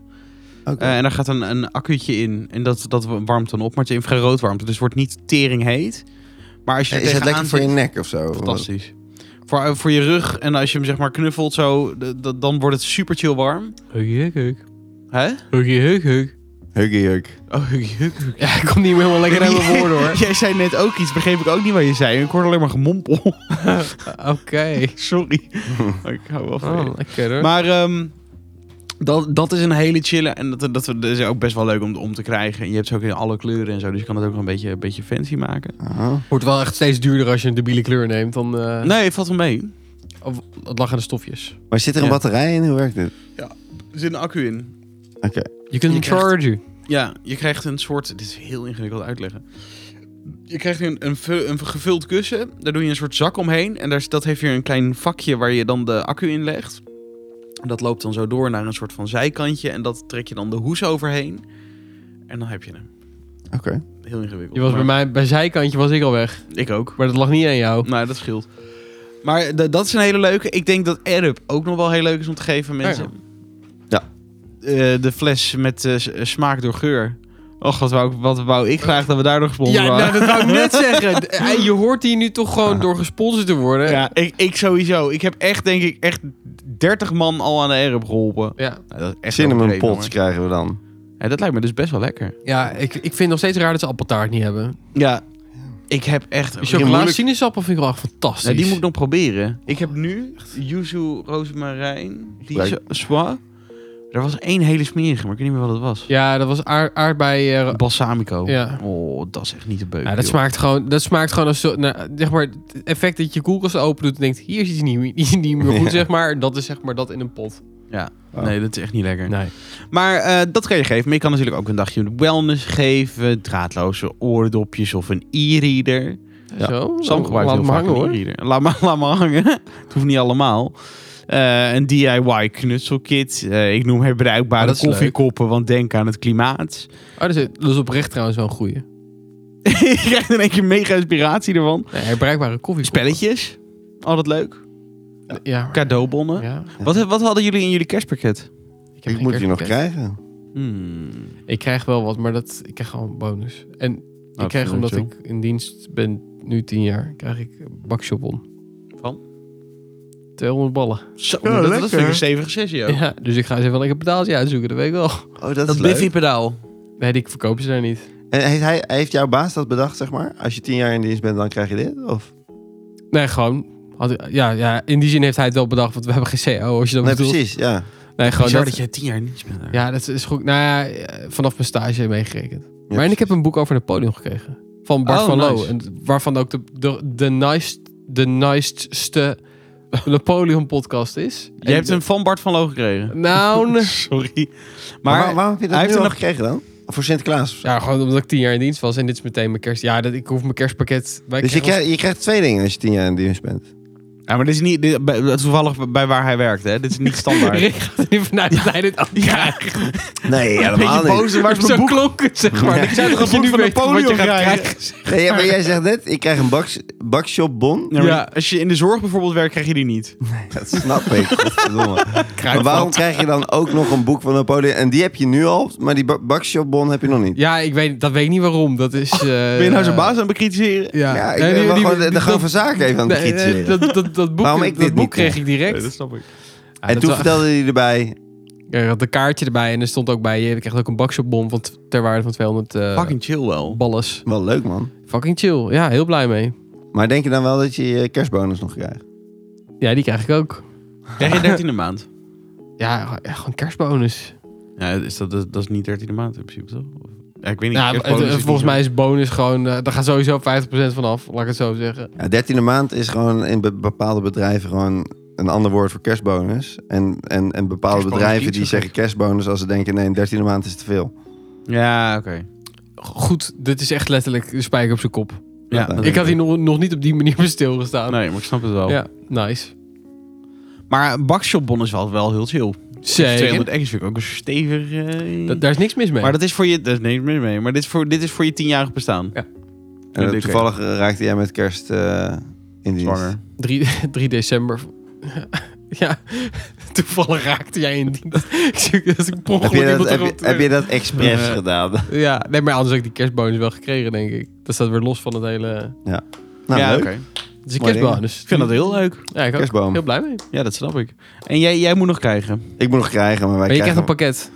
B: Oké.
A: Eh, en daar gaat een, een accuutje in en dat, dat warmt dan op. Maar het is infrarood warmte, dus het wordt niet tering heet. Maar als je er
B: Eh, is het
A: tegenaan
B: lekker voor
A: zit-
B: je nek of zo?
A: Fantastisch. Voor, eh, voor je rug en als je hem zeg maar knuffelt zo, d- d- dan wordt het super chill warm.
C: Huggy hug hug.
A: Hè?
C: Huggy hug hug.
B: Huggy hug.
A: Oh,
C: Ja, ik kom niet meer helemaal lekker uit mijn woorden hoor.
A: Jij zei net ook iets, begreep ik ook niet wat je zei. Ik hoorde alleen maar gemompel.
C: Oké.
A: Sorry. ik hou wel van je.
C: Oh, lekker hoor.
A: Maar ehm, dat, dat is een hele chille en dat, dat, dat is ook best wel leuk om, om te krijgen. En je hebt ze ook in alle kleuren en zo, dus je kan het ook wel een beetje, een beetje fancy maken.
B: Ah.
C: Wordt wel echt steeds duurder als je een debiele kleur neemt. Dan, eh,
A: Nee, valt wel mee.
C: of, het lag aan de stofjes.
B: Maar zit er een
A: Ja.
B: batterij in? Hoe werkt dit?
A: Er zit een accu in.
B: Oké.
C: Je kunt hem
A: Je krijgt-
C: chargen.
A: Ja, je krijgt een soort. Dit is heel ingewikkeld uitleggen. Je krijgt een, een, vu- een gevuld kussen. Daar doe je een soort zak omheen. En daar, is- dat heeft weer een klein vakje waar je dan de accu in legt. En Dat loopt dan zo door naar een soort van zijkantje. En dat trek je dan de hoes overheen. En dan heb je hem.
B: Oké.
A: Heel ingewikkeld.
C: Je was bij
A: maar
C: mij, bij zijkantje was ik al weg.
A: Ik ook.
C: Maar dat lag niet aan jou.
A: Nou, dat scheelt. Maar d- dat is een hele leuke. Ik denk dat Arab ook nog wel heel leuk is om te geven aan mensen.
B: Ja.
A: eh, de fles met eh, s- smaak door geur. Och, wat wou, ik- wat wou ik graag dat we daardoor gesponsord
C: Ja,
A: waren.
C: nou, dat wou ik net zeggen. D- eh, Je hoort hier nu toch gewoon door gesponsord te worden.
A: Ja, ik, ik sowieso. Ik heb echt, denk ik, echt 30 man al aan de Arab geholpen.
C: Ja,
A: Nou, dat is echt
B: Cinnamon
A: overdreven,
B: pots
A: hoor.
B: krijgen we dan.
A: Ja, dat lijkt me dus best wel lekker.
C: ja ik, ik vind het nog steeds raar dat ze appeltaart niet hebben.
A: Ja, ik heb echt...
C: Die
A: Ja,
C: chocolade
B: moeilijk-
C: sinaasappel vind ik wel echt fantastisch.
A: die moet ik nog proberen. Ik heb nu yuzu rozemarijn, die
B: Leuk.
A: soie. Er was één hele smerige, maar ik weet niet meer wat het was.
C: Ja, dat was aard, aardbei... eh,
A: Balsamico.
C: Ja.
A: Oh, dat is echt niet te beuk.
C: ja, dat,
A: joh.
C: smaakt gewoon, dat smaakt gewoon als... zo- Nou, zeg maar, het effect dat je koelkast open doet en denkt... Hier is iets niet, iets niet meer goed,
B: Ja.
C: zeg maar. Dat is zeg maar dat in een pot.
B: Oh.
A: Nee, dat is echt niet lekker.
C: Nee.
A: Maar eh, dat kan je geven. Maar je kan natuurlijk ook een dagje wellness geven. Draadloze oordopjes of een e-reader. Ja.
C: Zo,
A: Sam gebruikt
C: laat
A: heel
C: me
A: vaak
C: hangen,
A: een
C: hoor.
A: e-reader. Laat maar, laat maar hangen. het hoeft niet allemaal. Eh, een DIY knutselkit. Eh, ik noem
C: Ah,
A: herbruikbare
C: dat is leuk.
A: koffiekoppen, want denk aan het klimaat.
C: Oh, dat is, dat is oprecht trouwens wel een goeie.
A: je krijgt in één keer mega inspiratie ervan.
C: Nee, herbruikbare koffie.
A: Spelletjes. Altijd leuk.
C: Ja. maar-
A: Cadeaubonnen.
C: ja.
A: Wat, wat hadden jullie in jullie kerstpakket?
C: Ik,
B: Ik
C: geen
B: moet die nog
C: kerstpakket.
B: krijgen.
A: Hmm.
C: Ik krijg wel wat, maar dat, ik krijg gewoon bonus. En ik
A: Oh,
C: krijg, omdat
A: chill.
C: ik in dienst ben nu tien jaar, krijg ik bakshopon.
A: Van?
C: 200 ballen.
A: Zo,
B: Ja,
A: dat, dat
B: lekker.
A: vind ik een stevige sessie ook.
C: Ja, dus ik ga eens even een lekker pedaaltje uitzoeken, dat weet ik wel.
B: Oh, dat, is
A: Dat
B: leuk.
A: Biffy-pedaal.
C: Nee, die verkopen ze daar niet.
B: En Eh, heeft, hij, heeft jouw baas dat bedacht, zeg maar? Als je tien jaar in dienst bent, dan krijg je dit? Of?
C: Nee, gewoon. Had, ja, ja, in die zin heeft hij het wel bedacht, want we hebben geen CO, als je dat
B: Nee,
C: bedoelt.
B: precies, ja.
C: Nee, gewoon
A: Bizar
C: dat,
A: dat je tien jaar niet bent.
C: Ja, dat is goed. Nou ja, eh, vanaf mijn stage meegerekend.
B: Ja,
C: maar en ik heb een boek over Napoleon gekregen. Van Bart
A: Oh,
C: van Loo.
A: nice.
C: En waarvan ook de, de, de, nice, de nice'ste Napoleon podcast is.
A: Je hebt hem van Bart van Loo gekregen.
C: Nou, nee.
A: Sorry.
B: Maar,
A: Maar,
B: waar- waarom heb je dat
A: hij
B: nu
A: heeft
B: al
A: er
B: gekregen dan? Voor Sinterklaas? of zo?
C: ja, gewoon omdat ik tien jaar in dienst was en dit is meteen mijn kerst. Ja, dat, ik hoef mijn kerstpakket. Wij
B: dus je
C: krijgen
B: krijgt, je krijgt twee dingen als je tien jaar in dienst bent.
A: ja, maar dit is niet dit, bij- toevallig bij waar hij werkt. Hè. Dit is niet
C: ons-
A: standaard.
C: Rick gaat er niet vanuit dat hij dit ook krijgt.
B: Nee,
A: Beetje
B: helemaal niet.
A: boos, waar is
C: Zo
A: mijn boek?
C: klonk het, zeg maar.
B: Ja.
C: Ik zou
A: Ik
C: toch
A: heb
C: een boek
A: een
C: van
A: boek van
C: Napoleon wat je
A: Napoleon
C: gaat
A: krijgen.
C: krijgen.
B: Nee, ja, maar jij zegt net, ik krijg een baks, bakshopbon.
A: Ja, maar
C: Ja.
A: Als je in de zorg bijvoorbeeld werkt, krijg je die niet.
B: Dat snap ik. Godverdomme. Maar waarom krijg je dan ook nog een boek van Napoleon? En die heb je nu al, maar die ba- bakshopbon heb je nog niet.
C: Ja, ik weet, dat weet ik niet waarom. Dat is. eh
A: Ben je nou zijn baas aan het bekritiseren?
C: Ja,
B: Ja, ik
C: Nee,
B: ben
C: die-
B: wel
C: die-
B: gewoon de, de
C: die-
B: gang
C: dat-
B: van zaken even aan het
C: Nee, nee,
B: bekritiseren.
C: dat, dat, dat boek,
B: Waarom ik
C: dat
B: dit
C: boek
B: niet
C: kreeg ik direct.
A: Nee, snap ik.
C: Ja,
B: en
C: dat
B: toen
C: was-
B: vertelde hij erbij,
C: Ja, ik Eh, had een kaartje erbij en er stond ook bij... Je krijgt ook een bakshopbon van t- ter waarde van 200 eh
A: Fucking chill wel.
C: balles.
B: wel leuk man.
C: Fucking chill. Ja, heel blij mee.
B: Maar denk je dan wel dat je je kerstbonus nog krijgt?
C: Ja, die krijg ik ook.
A: Krijg je 13e maand?
C: Ja, ja, gewoon kerstbonus.
A: Ja, is dat, dat, dat is niet 13e maand in principe, toch? Of- Ja, ik weet niet.
C: Nou,
A: Kerstbonus
C: het-
A: is niet
C: volgens
A: zo-
C: mij is bonus gewoon... eh, daar gaat sowieso 50% van af, laat ik het zo zeggen.
B: Ja, 13e maand is gewoon in be- bepaalde bedrijven gewoon een ander woord voor kerstbonus. En, en, en bepaalde
A: Kerstbonus
B: bedrijven
A: iets
B: die
A: of
B: zeggen kerstbonus als ze denken nee, een 13e maand is te veel.
A: Ja, oké.
C: Goed, dit is echt letterlijk de spijker op zijn kop.
A: Ja, dat
C: Ik had
A: denk
C: hier nog, nog niet op die manier bij stilgestaan.
A: Nee, Oh. maar ik snap het wel.
C: Ja, nice.
A: Maar bakshopbon is wel, wel heel chill.
C: Zeker.
A: 200 ex vind ik ook een stevig... eh,
C: Da- daar is niks mis mee.
A: Maar dat is voor je... Daar is niks meer mee. Maar dit is voor, dit is voor je tienjarig bestaan.
C: Ja.
B: En
A: Ja, dit-
B: toevallig eh, raakte jij met kerst eh, in dienst.
A: Zwanger.
C: 3, 3 december. Ja, toevallig raakte jij in dienst. ik zie dat ik per
B: Heb
C: ongeluk
B: je, dat,
C: iemand
B: heb,
C: erop
B: je, heb je dat expres
A: Eh,
B: gedaan?
C: Ja, nee, maar anders heb ik die kerstbonus wel gekregen, denk ik. Dat staat weer los van het hele...
B: Nou,
A: ja,
B: leuk.
A: oké.
C: Het is een
B: Mooi
C: kerstbonus.
A: Ik vind dat heel leuk.
C: Ja, ik ook.
B: Kerstboom.
C: Heel blij mee.
A: Ja, dat snap ik. En jij, jij moet nog krijgen.
B: Ik moet nog krijgen, maar wij
C: Maar je krijgt
B: krijgen...
C: een pakket.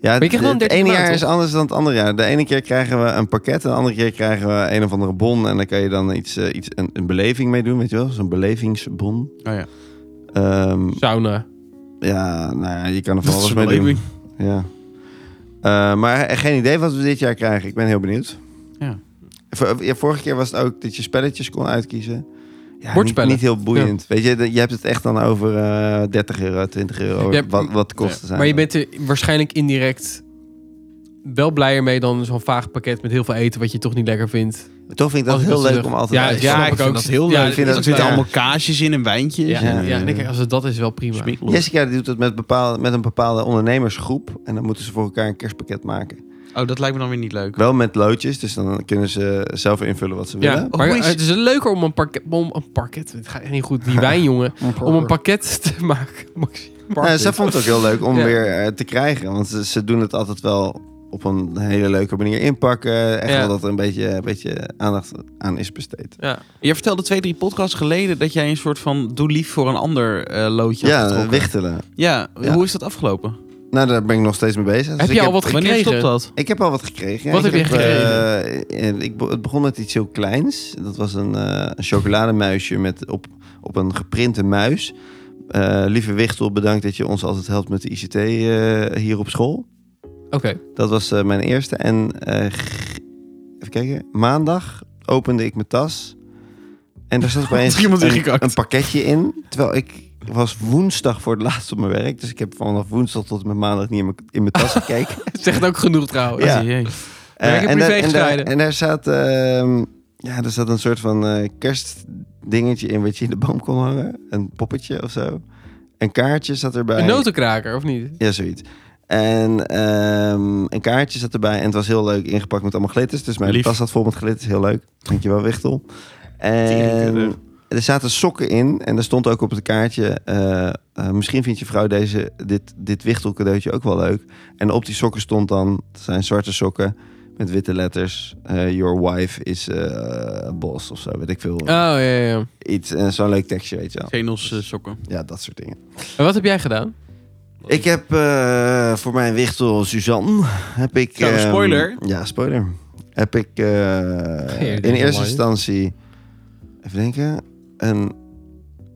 B: ja,
C: je krijgt wel een
B: het
C: 13e
B: ene
C: maand,
B: jaar is
C: toch?
B: anders dan het andere jaar. De ene keer krijgen we een pakket, de andere keer krijgen we een of andere bon. En dan kan je dan iets, eh, iets, een, een beleving mee doen, weet je wel? Zo'n belevingsbon.
A: Oh ja.
B: Ehm,
C: Sauna.
B: ja, nou ja, je kan er van
A: Dat is
B: alles
A: wel
B: mee doen.
A: leuk.
B: Ja. Eh, maar eh, geen idee wat we dit jaar krijgen. Ik ben heel benieuwd.
A: Ja.
B: Vor- ja, vorige keer was het ook dat je spelletjes kon uitkiezen. Ja,
C: Bordspellen.
B: Niet, niet heel boeiend. Weet je, de- je hebt het echt dan over eh, 30 euro, 20 euro,
C: Je hebt-
B: wat, wat de kosten zijn.
C: Maar je bent er waarschijnlijk indirect wel blijer mee dan zo'n vaag pakket met heel veel eten wat je toch niet lekker vindt.
B: Toch vind ik dat
C: Als ik
B: heel
C: dat
B: leuk
C: zeg.
B: om altijd
C: Ja,
B: uit te
C: ja,
B: stappen.
A: ik
C: ik
A: vind
C: ook.
A: dat heel
C: Ja,
A: leuk.
C: ik
B: vind
A: er
B: dat-
A: zitten
B: ja.
A: allemaal kaasjes in en wijntjes.
C: Ja,
A: en,
C: ja,
B: ja, ja.
C: en ik denk, als het dat is, wel prima.
A: Smeekloos.
B: Jessica die doet dat met, bepaalde, met een bepaalde ondernemersgroep. En dan moeten ze voor elkaar een kerstpakket maken.
A: Oh, dat lijkt me dan weer niet leuk.
B: Wel met loodjes, dus dan kunnen ze zelf invullen wat ze
C: Ja,
B: willen.
A: Oh,
C: maar
A: hoe is-
C: het is leuker om een parket... Om een parket... Het gaat echt niet goed, die wijn, jongen. Om een pakket te maken, Maxi.
B: Nou, ze vond het ook heel leuk om
C: Ja.
B: weer eh, te krijgen. Want ze, ze doen het altijd wel op een hele leuke manier inpakken. Echt
C: Ja.
B: wel dat er een beetje, een beetje aandacht aan is besteed.
C: Ja.
A: Je vertelde twee, drie podcasts geleden dat jij een soort van doe lief voor een ander eh, loodje had
B: Ja,
A: getrokken.
B: wichtelen.
A: Ja,
B: Ja.
A: hoe is dat afgelopen?
B: Nou, daar ben ik nog steeds mee bezig. Dus
C: Heb
B: ik
C: je al wat
A: Wanneer
C: gekregen?
A: stopt dat?
B: Ik heb al wat gekregen.
C: Wat
B: Ik
C: heb je
B: eh, eh, ik, be- het begon met iets heel kleins. Dat was een, eh, een chocolademuisje met op, op een geprinte muis. Eh, lieve Wichtel, bedankt dat je ons altijd helpt met de ICT eh, hier op school.
C: Oké.
B: Dat was eh, mijn eerste. En eh, g- even kijken. Maandag opende ik mijn tas. En daar zat opeens
A: Had iemand
B: een,
A: ingekakt?
B: een pakketje in. Terwijl ik was woensdag voor het laatst op mijn werk. Dus ik heb vanaf woensdag tot en met maandag niet in mijn, in mijn tas gekeken.
C: Zegt ook genoeg trouwens.
B: Ja.
A: Oh, jee.
B: Eh,
C: Werk in
B: en, daar-
C: privé
B: en, daar,
C: gescheiden.
B: en daar zat, ehm, ja, er zat een soort van eh, kerstdingetje in wat je in de boom kon hangen. Een poppetje of zo. Een kaartje zat erbij.
C: Een notenkraker, of niet?
B: Ja, zoiets. En ehm, een kaartje zat erbij. En het was heel leuk ingepakt met allemaal glitters. Dus mijn
A: Lief.
B: tas zat vol met glitters. Heel leuk. Dankjewel, Wichtel.
A: Teringkudde.
B: En er zaten sokken in. En er stond ook op het kaartje... eh, eh, misschien vindt je vrouw deze, dit, dit Wichtel cadeautje ook wel leuk. En op die sokken stond dan... Het zijn zwarte sokken met witte letters. eh, your wife is eh boss of zo. Weet ik veel.
C: Oh, ja, ja, ja.
B: Iets. En zo'n leuk tekstje, weet je wel.
A: Genos eh, sokken.
B: Ja, dat soort dingen.
C: En wat heb jij gedaan?
B: Ik heb eh, voor mijn wichtel Suzanne heb ik.
A: Zo,
B: ehm,
A: Nou, spoiler.
B: Ja, spoiler. Heb ik eh,
C: dit
B: in
C: is
B: eerste
C: mooi.
B: instantie even denken een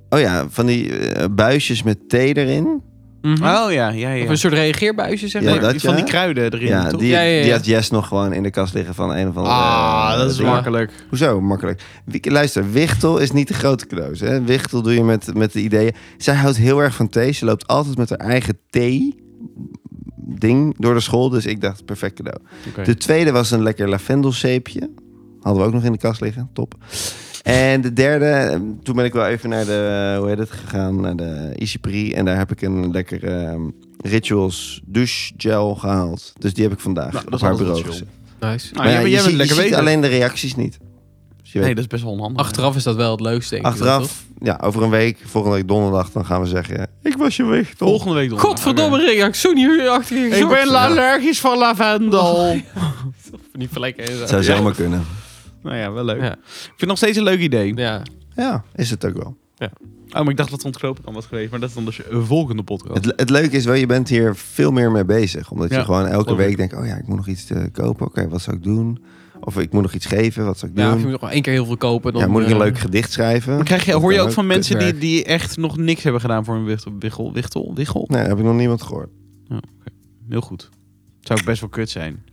B: oh ja van die eh, buisjes met thee erin.
C: Mhm.
A: Oh ja, ja, ja.
C: Of een soort reageerbuisje, zeg
B: Ja,
C: maar.
B: dat-
A: van die
B: ja.
A: kruiden erin,
B: Ja,
A: toch?
B: die,
C: Ja, ja, ja.
B: die had Jess nog gewoon in de kast liggen van een of andere.
A: Ah,
B: eh,
A: dat is
B: ding.
A: makkelijk.
B: Hoezo makkelijk? Wie- Luister, wichtel is niet de grote cadeaus. Hè? Wichtel doe je met, met de ideeën. Zij houdt heel erg van thee. Ze loopt altijd met haar eigen thee ding door de school. Dus ik dacht, perfect cadeau.
A: Oké.
B: De tweede was een lekker lavendelzeepje. Hadden we ook nog in de kast liggen. Top. En de derde, eh, toen ben ik wel even naar de, eh, hoe heet het, gegaan, naar de Isipri. En daar heb ik een lekker eh, Rituals douche gel gehaald. Dus die heb ik vandaag
A: Nou, dat
B: op
A: is
B: haar
A: altijd
B: bureau
A: wel chill.
B: gezet.
C: Nice.
A: Nou, jij,
B: Maar
A: jij
B: ja, je
A: bent
B: ziet-
A: lekker
B: je ziet
A: weten.
B: alleen de reacties niet. Dus je weet-
A: Nee, dat is best wel onhandig.
C: Achteraf is dat wel het leukste, denk ik.
B: achteraf, ja, over een week, volgende week donderdag, dan gaan we zeggen, ik was je weg, toch?
A: Volgende week
C: toch?
A: donderdag.
C: Godverdomme, Rick. Ik zo niet achter je
A: Ik
C: gezocht.
A: ben allergisch van lavendel.
C: Van die vlekken en zo.
B: Het zou
A: Ja.
B: zomaar kunnen.
A: nou ja, wel leuk.
C: Ja.
A: Ik vind het nog steeds een leuk idee.
C: Ja.
B: Ja, is het ook wel.
A: Oh, maar ik dacht dat het ontknopen kan was geweest. Maar dat is dan dus een volgende podcast.
B: Het, het leuke is wel, je bent hier veel meer mee bezig. Omdat je
A: Ja,
B: gewoon elke
A: geloof ik.
B: week denkt, oh ja, ik moet nog iets eh, kopen. Oké, wat zou ik doen? Of ik moet nog iets geven, wat zou ik
C: ja, of je
B: doen?
C: moet nog wel één keer heel veel kopen. Dan,
B: Ja, moet ik een
C: eh,
B: leuk gedicht schrijven?
A: Maar krijg je,
B: Dat
A: hoor je
B: kan
A: ook van mensen die,
C: kutwerk.
A: die echt nog niks hebben gedaan voor een wichtel? Wichtel? Wichtel? wichtel?
B: Nee, heb ik nog niemand gehoord.
A: Heel goed. Zou ik best wel kut zijn.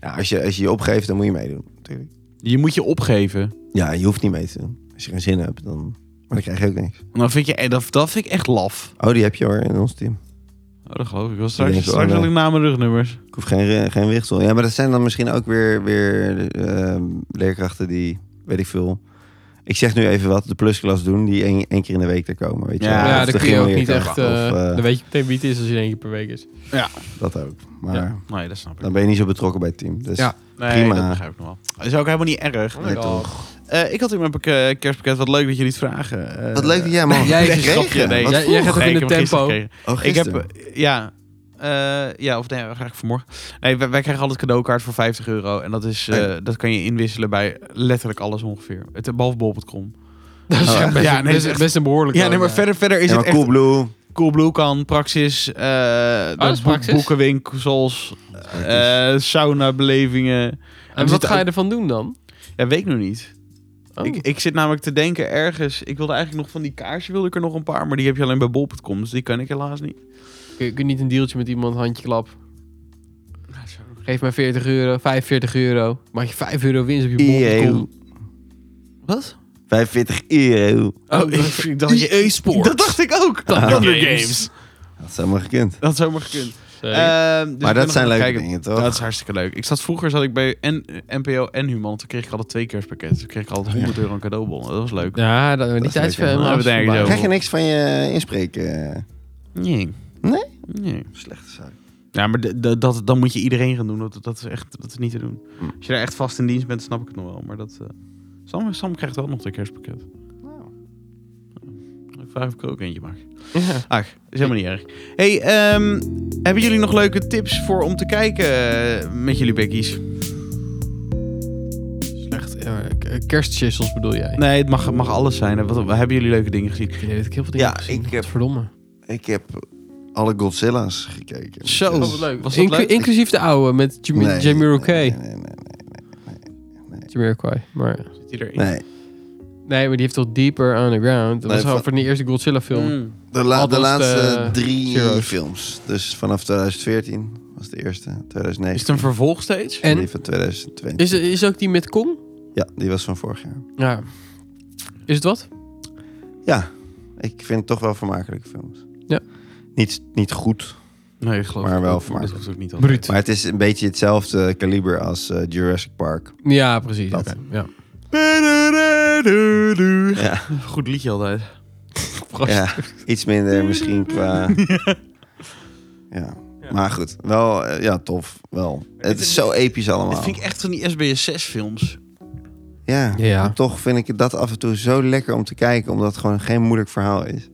B: Ja, als, je, als je je opgeeft, dan moet je meedoen. Natuurlijk.
A: Je moet je opgeven.
B: Ja, je hoeft niet mee te doen. Als je geen zin hebt, dan, maar dan krijg je ook niks.
A: En Dan vind je, eh, dat, dat vind ik echt laf.
B: Oh, die heb je hoor, in ons team.
A: Oh, dat geloof ik. wel.
B: Ik
A: Straks,
B: denk het
A: straks
B: wel,
A: wil ik na mijn rugnummers.
B: Ik hoef geen, re- geen wichtel. Ja, maar dat zijn dan misschien ook weer, weer eh, leerkrachten die, weet ik veel... Ik zeg nu even wat, de plusklas doen, die één, één keer in de week er komen. Weet je?
A: Ja,
B: Of
C: Ja,
B: de
C: dan kun je ook niet
B: gymleerkracht,
C: echt... eh,
B: of, eh,
C: dan weet je meteen wie het is als je één keer per week is.
B: Dat ook. Maar
C: Ja.
A: Nee, dat snap ik.
B: dan ben je niet zo betrokken bij het team. Dus
C: Ja.
A: Nee,
B: prima.
A: dat begrijp ik nog wel. Dat is ook helemaal niet erg.
B: nee, toch.
A: Eh, ik had in mijn pak- eh, kerstpakket wat leuk dat jullie het vragen. Eh,
B: Wat leuk dat jij man.
C: Jij is
A: een grapje, nee.
B: Wat
C: Jij-
B: vroeg?
C: jij gaat- ook
A: Nee,
C: in
A: ik
C: het
A: heb hem gisteren
C: tempo.
A: gekregen.
B: Oh,
A: Ik heb,
B: gisteren.
A: eh, ja, eh, ja, of nee, eigenlijk vanmorgen. Nee, wij, wij krijgen altijd cadeaukaart voor 50 euro. En dat, is, eh, dat kan je inwisselen bij letterlijk alles ongeveer. Het, behalve bol.com.
C: Dat is
B: Oh,
C: echt best,
A: ja, nee,
C: best-
A: het is echt-
C: best een behoorlijk
A: Ja, nee, maar verder, verder is
B: Ja,
A: het
B: maar
A: echt cool.
B: Coolblue.
A: Coolblue kan, Praxis, eh de
C: dat is
A: boek-
C: Praxis.
A: boekenwinkels, eh sauna-belevingen.
C: En
A: Er
C: wat
A: zitten
C: ga je
A: ook-
C: ervan doen dan?
A: Ja, weet ik nog niet.
C: Oh.
A: Ik, ik zit namelijk te denken ergens... Ik wilde eigenlijk nog van die kaarsen wilde ik er nog een paar... maar die heb je alleen bij bol.com, dus die kan ik helaas niet.
C: Kun je, kun je niet een deeltje met iemand handje klap? Geef mij 40 euro, 45 euro. Maak je 5 euro winst op je
B: Eeuw.
C: bol.com. Wat?
B: 45 euro.
A: Oh, ik, ik dacht... je-
C: sports.
A: Dat dacht ik ook! Hunger Games.
B: Dat zou maar gekund.
A: Dat had zomaar gekund.
C: Eh,
A: Ehm, dus ik ben
B: maar dat
A: nog aan
B: zijn
A: het
B: leuke
A: kijken.
B: dingen, toch?
A: Dat is hartstikke leuk. Ik zat vroeger zat ik bij en, eh, NPO en Human. Toen kreeg ik altijd twee kerstpakketten. Toen kreeg ik altijd 100 euro aan cadeaubon. Dat was leuk.
C: Ja, dat, die
B: is
C: tijd is
B: lekker.
C: helemaal
A: Nou, we denken
C: afgebaat.
A: zo.
B: Krijg je niks van je inspreken?
A: Nee.
B: Nee?
A: Nee.
B: eh, Slechte zaak.
A: Ja, maar d- d- dat, dan moet je iedereen gaan doen. Dat, dat, is echt dat is niet te doen.
B: Hm.
A: Als je daar echt vast in dienst bent, snap ik het nog wel. Maar dat, eh, Sam, Sam krijgt wel nog een kerstpakket. Oh. Ik vraag of ik er ook eentje mag.
C: Ja.
A: Ach, is helemaal niet erg. hey, ehm, hebben jullie nog leuke tips voor om te kijken eh, met jullie bekkies?
C: Slecht. eh, k- Kerstchissels bedoel jij?
A: Nee, het mag, mag alles zijn. hè. Wat, hebben jullie leuke dingen gezien?
C: Ik weet dat ik heel veel dingen
B: Ja,
C: heb gezien.
B: ik heb-
C: Verdomme.
B: Ik heb alle Godzilla's gekeken. Dus-
A: Zo,
C: Oh, wat leuk.
A: was dat
C: Inclu-
A: leuk?
C: Inclusief de oude met Jami-
B: Nee,
C: Jamiroquai.
B: Nee, nee, nee,
C: Jamiroquai. Maar,
A: Zit hij erin?
B: nee. Nee.
C: nee, maar die heeft toch Deeper Underground? Dat
B: Nee,
C: was al
B: van-
C: van de eerste Godzilla film.
A: Mm.
B: De, la-
C: Althans,
B: de laatste
C: de
B: drie
C: Zero's.
B: films. Dus vanaf 2014 was de eerste. 2019.
A: Is het een vervolg steeds?
C: En
B: Die van 2020.
C: is, is ook die met Kong?
B: Ja, die was van vorig jaar.
C: Ja. Is het wat?
B: Ja, ik vind het toch wel vermakelijke films.
C: Ja.
B: Niet, niet goed,
A: Nee, ik geloof
B: Maar
A: het
B: wel
A: ook.
B: vermakelijk.
A: Dat hoeft ook niet altijd.
C: Bruut.
B: maar het is een beetje hetzelfde kaliber als eh, Jurassic Park.
C: Ja, precies.
B: Dat.
C: Oké, Ja.
B: Ja,
A: Goed liedje altijd.
B: ja iets minder misschien qua... Ja. Maar goed, wel, eh, ja, tof. Wel. Het is zo episch
A: Dit
B: allemaal.
A: vind ik echt van die SBS6-films.
B: Ja,
C: Ja.
B: en toch vind ik dat af en toe zo lekker om te kijken, omdat het gewoon geen moeilijk verhaal is.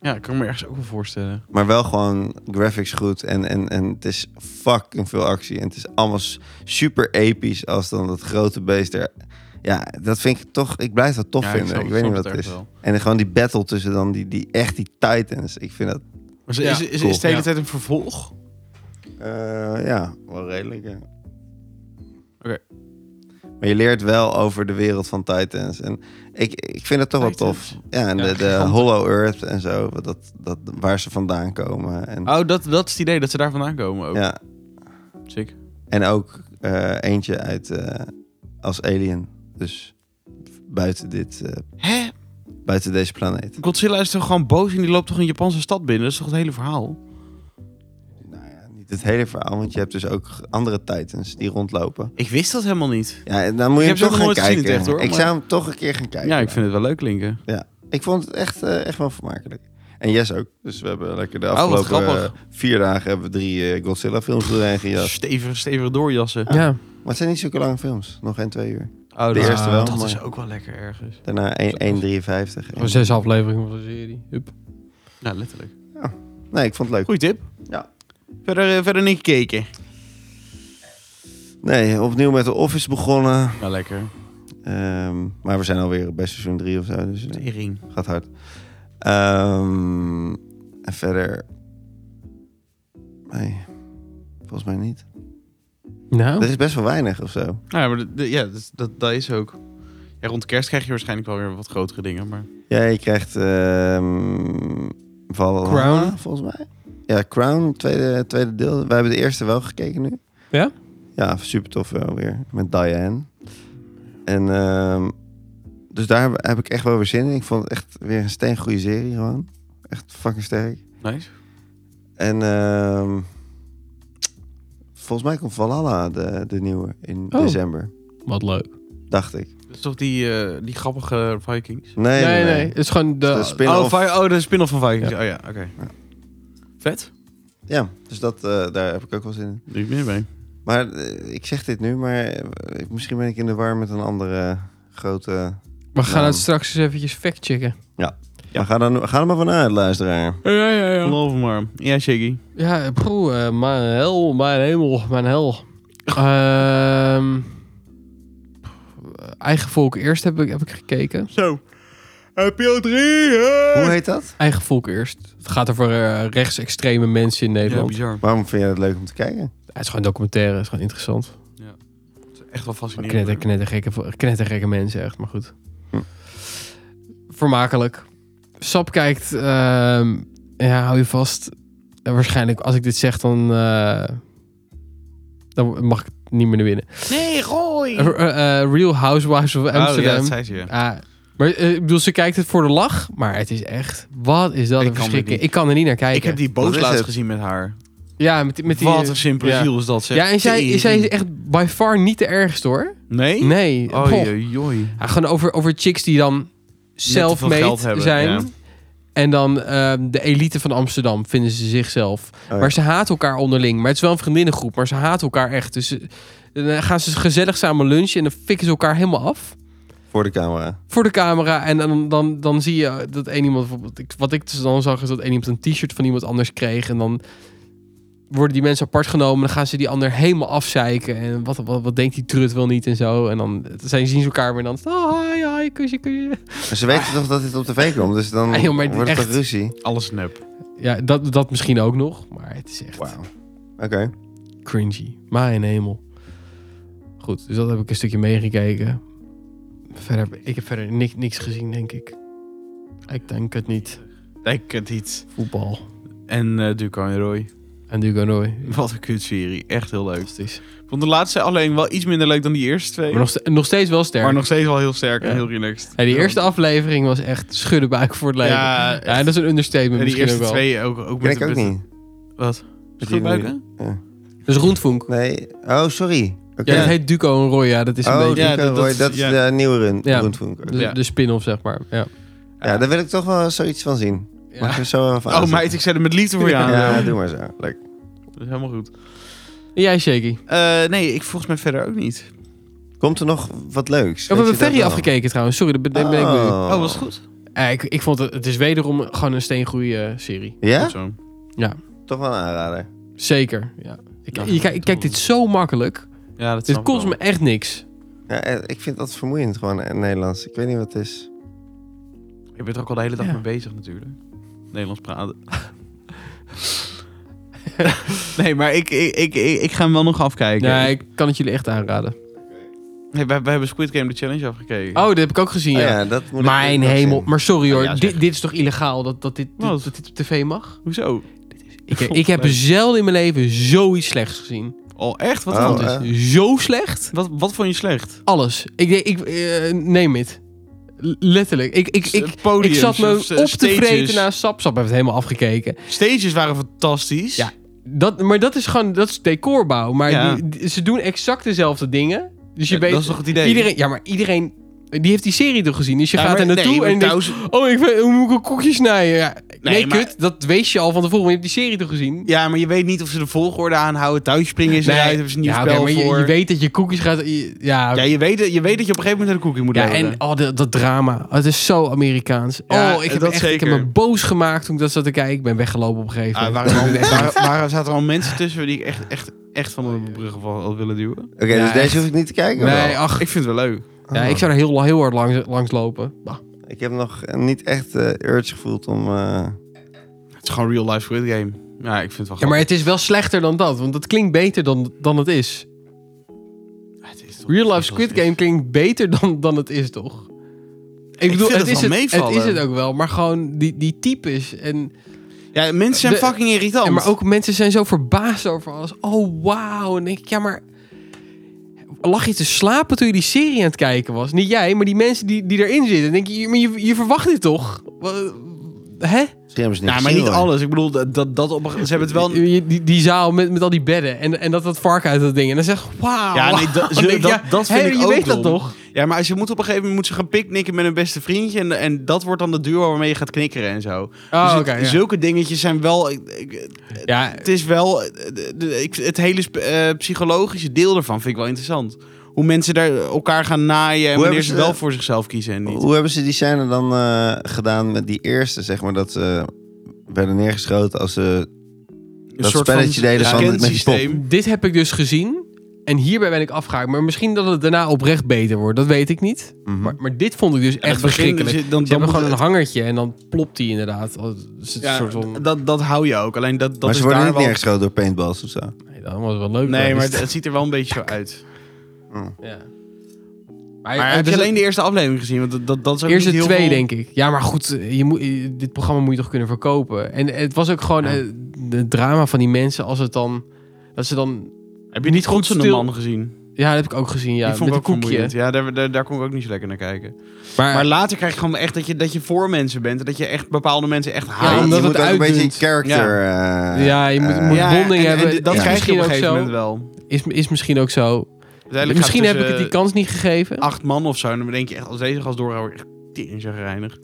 A: Ja, ik kan me ergens ook wel voorstellen.
B: Maar wel gewoon graphics goed en, en, en het is fucking veel actie. En het is allemaal s- super episch als dan dat grote beest er... Ja, dat vind ik toch... Ik blijf dat tof
A: ja,
B: vinden.
A: snap-
B: Ik, weet niet
A: snap
B: wat het
A: ergens
B: is.
A: wel.
B: En gewoon die battle tussen dan die, die echt die titans. Ik vind dat...
A: Maar is,
C: Ja,
A: is, is, is
B: cool.
A: het de hele
C: Ja.
A: tijd een vervolg?
B: eh, ja, wel redelijk, ja.
A: Oké.
B: Maar je leert wel over de wereld van titans. En ik, ik vind het toch wel tof.
C: Titans.
B: Ja, en
C: Ja,
B: de, de
C: giganten.
B: Hollow Earth en zo. wat Dat, dat, waar ze vandaan komen. En,
A: Oh, dat, dat is het idee dat ze daar vandaan komen ook.
B: ja,
A: Sick.
B: en ook eh, eentje uit eh, als alien. Dus buiten, dit, eh,
A: Hè?
B: buiten deze planeet.
A: Godzilla is toch gewoon boos en die loopt toch een Japanse stad binnen? Dat is toch het hele verhaal?
B: Nou ja, niet het hele verhaal. Want je hebt dus ook andere titans die rondlopen.
A: Ik wist dat helemaal niet.
B: Ja, en dan moet je
A: Ik heb
B: hem
A: ze ook
B: toch gaan
A: nog nooit gezien,
B: kijken.
A: echt, hoor,
B: ik
A: maar-
B: zou hem toch een keer gaan kijken.
A: Ja, ik vind het wel leuk klinken.
B: Ik vond het echt, eh, echt wel vermakelijk. En Jess ook. Dus we hebben lekker de
A: wat
B: afgelopen
A: grappig.
B: eh, vier dagen hebben we drie eh, Godzilla-films doorheen gejast.
A: Stevige, stevige doorjassen.
C: Ja.
B: Maar het zijn niet zulke lange films. Nog geen twee uur.
A: Oh,
B: De
A: dat-
B: eerste wel,
A: Dat
B: maar-
A: is ook wel lekker ergens.
B: Daarna één- 1,53.
C: Gewoon Oh, zes afleveringen van de serie. Hup.
A: Nou, letterlijk.
B: Nee, ik vond het leuk.
A: Goeie tip.
B: Ja.
A: Verder, eh, verder niet gekeken.
B: Nee, opnieuw met The Office begonnen.
A: Nou, lekker.
B: Ehm, maar we zijn alweer bij seizoen drie of zo. Dus eh,
A: Tering.
B: gaat hard. Ehm, en verder... Nee, volgens mij niet. Er
C: Nou.
B: is best wel weinig of zo.
A: Nou ja, maar de- de- ja, dat, dat, dat is ook. Ja, rond kerst krijg je waarschijnlijk wel weer wat grotere dingen, maar...
B: Ja, je krijgt ehm Valhalla,
C: Crown?
B: volgens mij. Ja, Crown, tweede, tweede deel. Wij hebben de eerste wel gekeken nu.
C: Ja?
B: Ja, super tof wel weer. Met Diane. En ehm, dus daar heb- heb ik echt wel weer zin in. Ik vond het echt weer een steengoede serie gewoon. Echt fucking sterk.
A: Nice.
B: En ehm, volgens mij komt Valhalla, de, de nieuwe, in
C: Oh.
B: december.
C: Wat leuk.
B: Dacht ik.
A: Dat is toch die, eh, die grappige Vikings?
B: Nee, Dus
C: Nee, nee. Het is gewoon de...
B: De spin-off.
A: Oh, vi- oh, de spin-off van Vikings. Oh ja, oké.
B: Ja.
A: Vet.
B: Ja, dus dat, eh, daar heb ik ook wel zin in.
A: Doe ik meer mee.
B: Maar eh, ik zeg dit nu, maar eh, ik- misschien ben ik in de war met een andere grote.
C: We gaan
B: Nou.
C: het straks eens eventjes factchecken.
A: Ja.
B: Maar ga, dan, ga er maar vanuit, luisteraar.
C: Ja, ja, ja.
A: Geloof me maar. Ja, Shaggy.
C: Ja, proe. eh, mijn hel, mijn hemel, mijn hel. Ehm, eigen volk eerst heb ik, heb ik gekeken.
A: Zo. Heb je al drie?
B: Hoe heet dat?
C: Eigen volk eerst. Het gaat over eh, rechtsextreme mensen in
A: Ja,
C: Nederland.
A: bizar.
B: Waarom vind jij het leuk om te kijken?
C: het is gewoon een documentaire. Het is gewoon interessant.
A: Het is echt wel
C: Maar
A: fascinerend.
C: Knetter, knettergekke, knettergekke mensen, echt. Maar goed.
B: Hm.
C: Vermakelijk. Sap kijkt, ehm, ja, hou je vast. En waarschijnlijk, als ik dit zeg, dan, eh, dan mag ik het niet meer naar binnen.
A: Nee, gooi!
C: Eh, eh, eh, Real Housewives of
A: Oh, ja,
C: Amsterdam.
A: dat zei ze, ja.
C: Ah, maar eh, ik bedoel, ze kijkt het voor de lach, maar het is echt... Wat is dat
A: Ik
C: een
A: kan er
C: verschrikking.
A: niet-
C: Ik kan er niet naar kijken.
A: Ik heb die
B: Wat
A: boot
B: is
A: laatst
B: het?
A: gezien met haar.
C: Ja, met, die- met die...
A: Wat een simpele
C: ja.
A: ziel is dat, zeg.
C: Ja, en zij,
A: Tering.
C: zij is echt by far niet de ergste, hoor.
A: Nee?
C: Nee.
A: Oh,
C: Goh.
A: joi.
C: Ja, gewoon over, over chicks die dan
A: Net te veel
C: self-made
A: geld hebben,
C: zijn.
A: ja.
C: En dan ehm, de elite van Amsterdam vinden ze zichzelf.
A: Oh,
B: ja.
C: Maar ze haten elkaar onderling. Maar het is wel een vriendinnengroep, maar ze haten elkaar echt. Dus eh, dan gaan ze gezellig samen lunchen en dan fikken ze elkaar helemaal af
B: Voor de camera.
C: voor de camera. En dan, dan, dan zie je dat één iemand bijvoorbeeld. ik- Wat ik dus dan zag, is dat één iemand een t-shirt van iemand anders kreeg. En dan worden die mensen apart genomen. Dan gaan ze die ander helemaal afzeiken. En wat, wat, wat denkt die trut wel niet en zo. En dan zijn, zien ze elkaar weer. En dan. Oh, hi, hi, kusje, kusje.
B: Maar ze weten toch dat dit op tv komt, dus dan
C: Ah, joh, maar dit
B: wordt het
C: echt.
B: toch ruzie.
A: Alles nep.
C: Ja, dat, dat misschien ook nog. Maar het is echt
B: Wauw. Oké.
C: cringy. Mijn hemel. Goed, dus dat heb ik een stukje meegekeken. Verder, heb- ik heb verder niks, niks gezien, denk ik. Ik denk het niet.
A: Denk het niet.
C: Voetbal.
A: En eh Duco en Roy.
C: En Dugo Nooy.
A: Wat een kutserie. Echt heel leuk.
C: Fantastisch.
A: Ik vond de laatste alleen wel iets minder leuk dan die eerste twee.
C: Maar nog, ste- nog steeds wel sterk.
A: Maar nog steeds wel heel sterk
C: Ja.
A: en heel relaxed.
C: Ja, die eerste aflevering was echt schudden buik voor het leven. Ja,
A: Ja, echt.
C: dat is een understatement
A: en die
C: misschien ook
A: eerste
C: wel.
A: twee ook. ook
B: Ken
A: met,
B: ik ook
A: met-
B: niet.
A: Wat?
B: die
A: Schudbuiken?
C: Dus Roentvonk.
B: Nee. Oh, sorry. Oké.
C: Ja, dat heet Duco en Roy. Ja, dat is een
B: oh,
C: beetje
A: Ja,
B: Duco
A: dat-
B: Roy,
A: dat-
B: dat is
A: ja.
B: de nieuwe run.
C: Ja.
B: Rundfunk.
C: de,
A: Ja.
C: de spin-off, zeg maar. Ja.
B: Ja, daar wil ik toch wel zoiets van zien. Mag ik
C: Ja.
B: er zo even
A: Oh, meid, ik zet hem met liefde voor je aan.
B: Ja, doe maar zo. Leuk.
A: Dat is helemaal goed.
C: En jij, Shaky?
A: Eh, nee, ik volgens mij verder ook niet.
B: Komt er nog wat leuks?
C: we
B: Weet
C: hebben
B: je dat
C: Ferry
B: wel?
C: afgekeken trouwens. Sorry, dat ben, ben ik nu.
A: Oh, was goed.
C: Eh, ik, ik vond het, het is wederom gewoon een steengoeie eh, serie.
B: Ja?
A: Of zo.
B: Toch wel een aanrader.
C: Zeker. Ja. Ik,
A: Ja,
C: je, ki- ik kijk dit zo makkelijk.
A: Ja, dat
C: Dit
A: snap ik
C: Dus kost
A: wel.
C: me echt niks.
B: Ja, eh, ik vind dat vermoeiend gewoon in het Nederlands. Ik weet niet wat het is.
A: Je bent er ook al de hele dag
C: Ja.
A: mee bezig natuurlijk. Nederlands praten. nee, maar ik, ik, ik, ik, ik ga hem wel nog afkijken.
C: Ja, ik kan het jullie echt aanraden.
A: Nee, we, we hebben Squid Game de Challenge afgekeken.
C: Oh, dat heb ik ook gezien,
B: Oh
C: ja.
B: ja, dat moet ik
C: Mijn
B: ook
C: hemel.
B: zien.
C: Maar sorry hoor,
A: Ja, zeg.
C: dit, dit is toch illegaal dat, dat, dit, dit-
A: Wat?
C: dat dit op tv mag?
A: Hoezo?
C: Ik,
A: vond
C: ik
A: het
C: heb
A: leuk.
C: zelden in mijn leven zoiets slechts gezien.
A: Oh, echt? Wat,
B: Oh,
A: vond,
B: eh.
A: je?
C: Het is zo slecht.
A: wat, wat vond je slecht?
C: Alles. Ik, denk- ik eh, neem het. L- Letterlijk. Ik, ik, ik, ik
A: Podiums
C: zat me
A: of, eh,
C: op te
A: stages.
C: vreten na Sap. Sap heeft het helemaal afgekeken.
A: Stages waren fantastisch.
C: Ja. Dat, maar dat is gewoon dat is decorbouw. Maar
A: Ja.
C: die- die- ze doen exact dezelfde dingen. Dus je
A: Ja,
C: weet...
A: dat is toch het idee?
C: Iedereen, ja, maar iedereen... Die heeft die serie toch gezien. Dus je
A: Ja,
C: gaat
A: maar-
C: er naartoe
A: nee, maar
C: en je denkt...
A: thuis-
C: Oh, ik weet, hoe moet ik een koekje snijden? Ja, nee,
A: Nee, maar-
C: kut, dat wees je al van tevoren. want Je hebt die serie toch gezien?
A: Ja, maar je weet niet of ze de volgorde aanhouden. Thuisspringen is
C: Nee.
A: eruit, hebben ze een nieuw
C: Ja, oké,
A: spel
C: maar je-
A: voor.
C: Je, weet dat je koekjes gaat... je- ja,
A: Ja,
C: ja,
A: je weet, het- je weet dat je op een gegeven moment naar de cookie moet leveren.
C: en oh, dat, dat drama. Het is zo Amerikaans.
A: Ja,
C: oh, ik heb,
A: dat
C: echt, ik heb
A: zeker.
C: me boos gemaakt toen ik dat zat te kijken. Ik ben weggelopen op een gegeven
A: Ah,
C: moment.
A: waren, al, waren, waren- zaten er al mensen tussen die ik echt, echt, echt van de brug af had willen duwen?
B: Oké,
C: Ja,
B: dus
C: echt.
B: deze hoef ik niet te kijken?
C: nee,
B: wel?
C: ach.
A: Ik Ah, vind het wel leuk.
B: Oh.
C: ja, ik zou er heel, heel hard langs, langs lopen. Bah.
B: Ik heb nog eh, niet echt eh, urge gevoeld om... eh,
A: Het is gewoon real life Squid Game. Ja, ik vind het wel
C: Ja, maar het is wel slechter dan dat. Want dat klinkt beter dan, dan het is.
A: grappig. Het is toch
C: Real life
A: fantastisch.
C: Squid Game klinkt beter dan, dan het is, toch? Ik bedoel,
A: vind
C: het,
A: het
C: is
A: wel
C: het, het
A: meevallen.
C: is het ook wel, maar gewoon die, die types. En,
A: Ja, mensen zijn
C: De-
A: fucking irritant.
C: en maar ook mensen zijn zo verbaasd over alles. Oh, wauw. En dan denk ik, ja, maar... Lag je te slapen toen je die serie aan het kijken was? Niet jij, maar die mensen die, die erin zitten. Dan denk je, maar je, je verwacht dit toch? Wa- Hè?
B: misschien hebben ze het
A: Nou, maar
B: gezien,
A: niet
B: hoor.
A: alles. Ik bedoel, dat, dat, dat op, een- ze hebben het wel...
C: Je- je- Die, die zaal met, met al die bedden. En, en dat dat varken uit dat ding. En dan zeg je, wauw.
A: Ja, nee, dat-
C: Dan denk ik,
A: dat-
C: ja,
A: dat vind
C: hè,
A: ik
C: Je
A: ook
C: weet dat
A: dom. Dus
C: toch?
A: Ja, maar als je moet op een gegeven moment moet ze gaan picknicken met een beste vriendje. En, en dat wordt dan de duo waarmee je gaat knikkeren en zo.
C: Oh,
A: Dus het-
C: oké. ja.
A: Zulke dingetjes zijn wel... ik- ik-
C: ja,
A: Het is wel... eh, de- de- ik- Het hele sp- eh, psychologische deel ervan vind ik wel interessant. Hoe mensen daar elkaar gaan naaien. En wanneer
B: Hoe hebben
A: ze
B: ze-
A: wel voor zichzelf kiezen en niet.
B: Hoe hebben ze die scène dan eh, gedaan met die eerste, zeg maar, dat ze werden neergeschoten als ze...
A: Een
B: dat spelletje deden van- met die pop.
A: herkensysteem.
C: dit heb ik dus gezien. En hierbij ben ik afgehaakt. Maar misschien dat het daarna oprecht beter wordt. Dat weet ik niet.
B: Mhm.
C: Maar, maar dit vond ik dus
A: Ja,
C: echt
A: het begin,
C: verschrikkelijk.
A: dus je- dan-
C: Ze
A: dan
C: hebben
A: moet
C: gewoon een
A: het-
C: hangertje en dan plopt die inderdaad. Dat is een
A: Ja,
C: soort van...
A: dat, dat hou je ook. Alleen dat, dat
B: maar
A: is
B: ze worden
A: daar
B: niet
A: wel...
B: neergeschoten door paintballs of zo.
C: Nee, dat was wel leuk. dus-
A: Nee, maar
C: geweest.
A: het, het ziet er wel een beetje zo uit.
C: Ja.
A: Maar heb je alleen de eerste aflevering gezien? Want dat, dat, dat is ook
C: dus Eerste
A: niet heel
C: twee,
A: veel...
C: denk ik. Ja, maar goed, je moet, eh, dit programma moet je toch kunnen verkopen. En het was ook gewoon
A: Ja.
C: eh, de drama van die mensen als het dan... Dat ze dan...
A: Heb je niet
C: Niet goed
A: Godsende
C: stil-
A: Man gezien?
C: Ja, dat heb ik ook gezien, ja.
A: Die vond
C: met
A: ik
C: een
A: ook
C: koekje.
A: vermoeiend. Ja, daar, daar, daar kon ik ook niet zo lekker naar kijken.
C: Maar,
A: Maar later krijg je gewoon echt dat je, dat je voor mensen bent. En dat je echt bepaalde mensen echt haat.
B: je
C: omdat
B: moet
C: het
B: ook een beetje
C: uitdoet.
B: een character... eh,
C: Ja, je moet-
B: eh,
C: moet- bonding
A: en- en
C: hebben,
A: dat
C: is
A: krijg je op
C: misschien
A: een
C: ook
A: gegeven
C: zo.
A: moment wel.
C: is, is misschien ook zo.
A: Uiteindelijk gaat
C: Misschien
A: het
C: heb ik het die
A: tussen
C: kans niet gegeven.
A: Acht man of zo. En dan denk je echt, als deze gast doorhoudt, echt tering zagrijnig.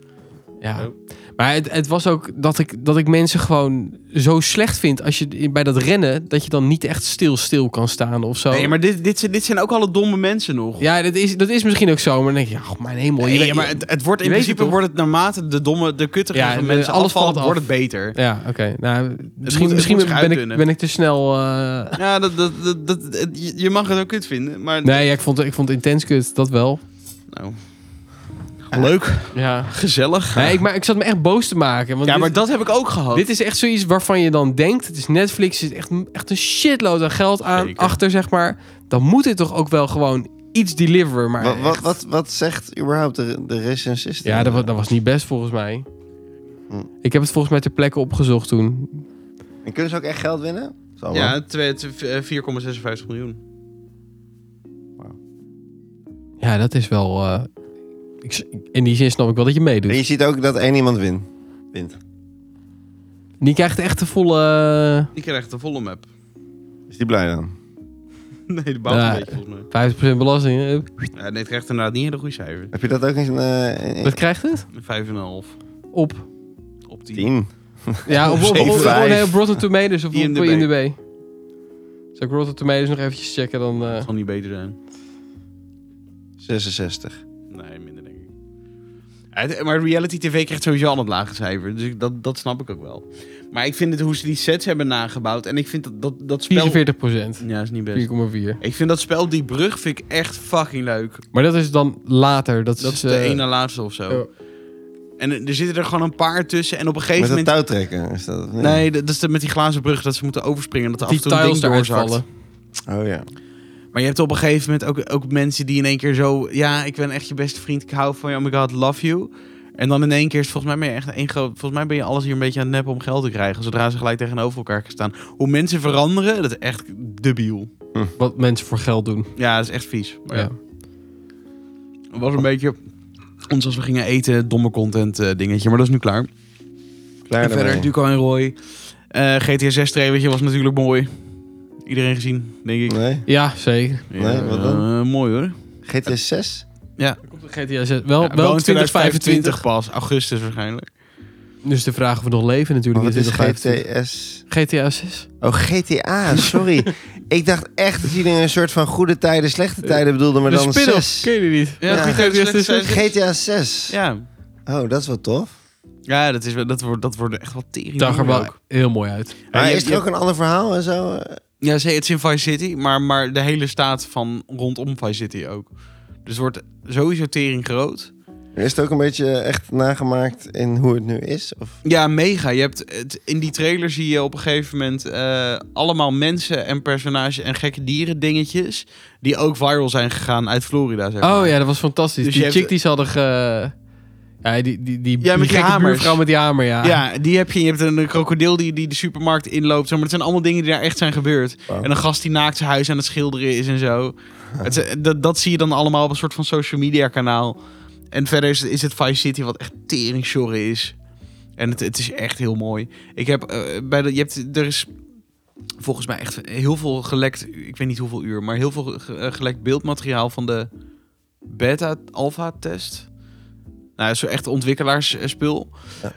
C: Ja.
A: Oh.
C: Maar Maar het, het was ook dat ik, dat ik mensen gewoon zo slecht vind als je in- bij dat rennen, dat je dan niet echt stil stil kan staan of zo.
A: Nee, maar dit, dit, zijn- dit zijn ook alle domme mensen nog.
C: Ja, dat is, dat is misschien ook zo, maar dan denk je, oh mijn hemel. je
A: Nee,
C: weet-
A: maar het, het wordt in
C: je weet het
A: principe
C: toch?
A: wordt het naarmate de domme, de kuttige
C: Ja, de-
A: mensen
C: alles
A: alles valt,
C: valt af.
A: wordt het beter.
C: Ja, oké. Nou, misschien
A: moet- het
C: misschien
A: moet zich
C: ben, ik,
A: uitdunnen.
C: ben ik te snel... eh,
A: Ja, dat, dat, dat, dat- het- je- je mag het ook kut vinden, maar
C: Nee, ja, ik, vond, ik vond het intens kut, dat wel.
A: nou. leuk,
C: Ja.
A: gezellig.
C: Nee, ik, maar ik zat me echt boos te maken. Want
A: ja,
C: dit-
A: maar dat heb ik ook gehad.
C: Dit is echt zoiets waarvan je dan denkt: het is Netflix, er zit echt, echt een shitload aan geld aan
A: Zeker.
C: achter, zeg maar. Dan moet dit toch ook wel gewoon iets deliveren. Maar
B: Wat, wat,
C: echt-
B: wat, wat zegt überhaupt de, de recensist?
C: ja, dat, wa- dat was niet best volgens mij.
B: Hm.
C: Ik heb het volgens mij ter plekke opgezocht toen.
B: En kunnen ze ook echt geld winnen? Zal Oh, wel.
A: ja, twee- twee- eh, 4,56 miljoen.
C: Ja, dat is wel. eh, ik s- in die zin snap ik wel dat je meedoet.
B: En je ziet ook dat één iemand wint. wint.
C: Die krijgt echt de volle.
A: Ik krijg echt een volle map.
B: Is die blij dan?
A: Nee, de bouwt
C: Ja.
A: een beetje volgens mij.
C: 50% belasting. hè?
A: Ja, nee, het krijgt inderdaad niet een hele goede cijfer.
B: Heb je dat ook eens een eh,
C: Wat krijgt het?
A: Een 5,5
C: Op.
A: op 10.
B: tien?
C: Ja, op, op, op, op,
B: Zeven, vijf.
C: nee, op Rotten Tomatoes of op
A: IMDb.
C: IMDb. Zal ik Rotten Tomatoes nog eventjes checken? Dan, eh,
A: Dat zal niet beter zijn.
B: 66.
A: Nee, minder denk ik. Het- Maar reality tv krijgt sowieso al een lage cijfer. Dus ik- dat, dat snap ik ook wel. Maar ik vind het hoe ze die sets hebben nagebouwd. En ik vind dat, dat, dat spel...
C: 44 procent.
A: Ja, is niet best.
C: 4,4.
A: Ik vind dat spel Die Brug vind ik echt fucking leuk.
C: Maar dat is dan later. Dat,
A: Dat is
C: is
A: de
C: eh,
A: ene laatste of zo.
C: ja.
A: En er er zitten er gewoon een paar tussen. En op een
B: Met
A: gegeven
B: het
A: moment...
B: touw trekken is dat? of niet?
A: Nee, dat dat is de- met die glazen brug dat ze moeten overspringen. Dat er af
C: die
A: en toe een ding
C: tiles eruit
A: doorzakt.
C: vallen.
B: Oh ja.
A: Maar je hebt op een gegeven moment ook, ook mensen die in één keer zo... Ja, ik ben echt je beste vriend. Ik hou van je. Oh my god, love you. En dan in één keer is het volgens mij ben je echt één groot... Volgens mij ben je alles hier een beetje aan het neppen om geld te krijgen. Zodra ze gelijk tegenover elkaar gaan staan. Hoe mensen veranderen, dat is echt debiel.
C: Wat mensen voor geld doen.
A: Ja, dat is echt vies. Maar ja.
C: Ja.
A: Het was een beetje... Ons als we gingen eten, domme content eh, dingetje. Maar dat is nu klaar.
B: Klaar
A: en verder
B: daarmee.
A: Duco en Roy. Eh GTA 6 trailertje was natuurlijk mooi. Iedereen gezien, denk ik.
B: Nee.
C: Ja, zeker.
B: Nee, wat dan?
A: eh, mooi hoor.
B: GT 6?
C: GTA 6. Wel,
A: Ja,
C: wel
A: in
C: 2025.
A: 2025 pas, augustus waarschijnlijk.
C: Dus de vraag of we nog leven
B: Maar
C: natuurlijk.
B: Oh, wat
C: in
B: is GTS?
C: 2025. GTA 6.
B: Oh, GTA, sorry. ik dacht echt dat jullie een soort van goede tijden, slechte tijden bedoelden, maar
C: de
B: dan
C: spin-off.
B: 6.
C: Ken je die niet?
A: Ja,
B: Ja.
A: GTA
C: GTA 6.
A: slecht zijn.
B: GTA 6.
A: Ja,
B: Oh, dat is wel tof.
A: ja dat, is, wel- dat, wordt, dat wordt echt wat tering.
C: Zag er
A: mooi
C: wel heel mooi uit.
A: Ja,
B: Maar
A: je-
B: is er
A: je-
B: ook een ander verhaal en zo? eh?
A: Ja, ze- het is in Vice City, maar, maar de hele staat van rondom Vice City ook. Dus het wordt sowieso tering groot.
B: Is het ook een beetje echt nagemaakt in hoe het nu is? Of?
A: Ja, mega. Je hebt het, in die trailer zie je op een gegeven moment eh, allemaal mensen en personages en gekke dieren dingetjes die ook viral zijn gegaan uit Florida. Zeg maar.
C: Oh ja, dat was fantastisch.
A: Dus je
C: die
A: hebt-
C: chick die ze hadden ge... Ja, die, die, die,
A: met die
C: gekke
A: hamers.
C: buurvrouw met die hamer, ja.
A: Ja, die heb je. Je hebt een krokodil die, die de supermarkt inloopt. Zo, maar het zijn allemaal dingen die daar echt zijn gebeurd.
B: Wauw.
A: En een gast die naakt zijn huis aan het schilderen is en zo. Het, is- dat, dat zie je dan allemaal op een soort van social media kanaal. En verder is, is het Vice City wat echt tering is. En het, het is echt heel mooi. Ik heb eh, bij de, je hebt, er is volgens mij echt heel veel gelekt, ik weet niet hoeveel uur, maar heel veel ge- eh, gelekt beeldmateriaal van de beta-alpha-test. Nou, zo echt eh, ontwikkelaarspul.
B: Ja.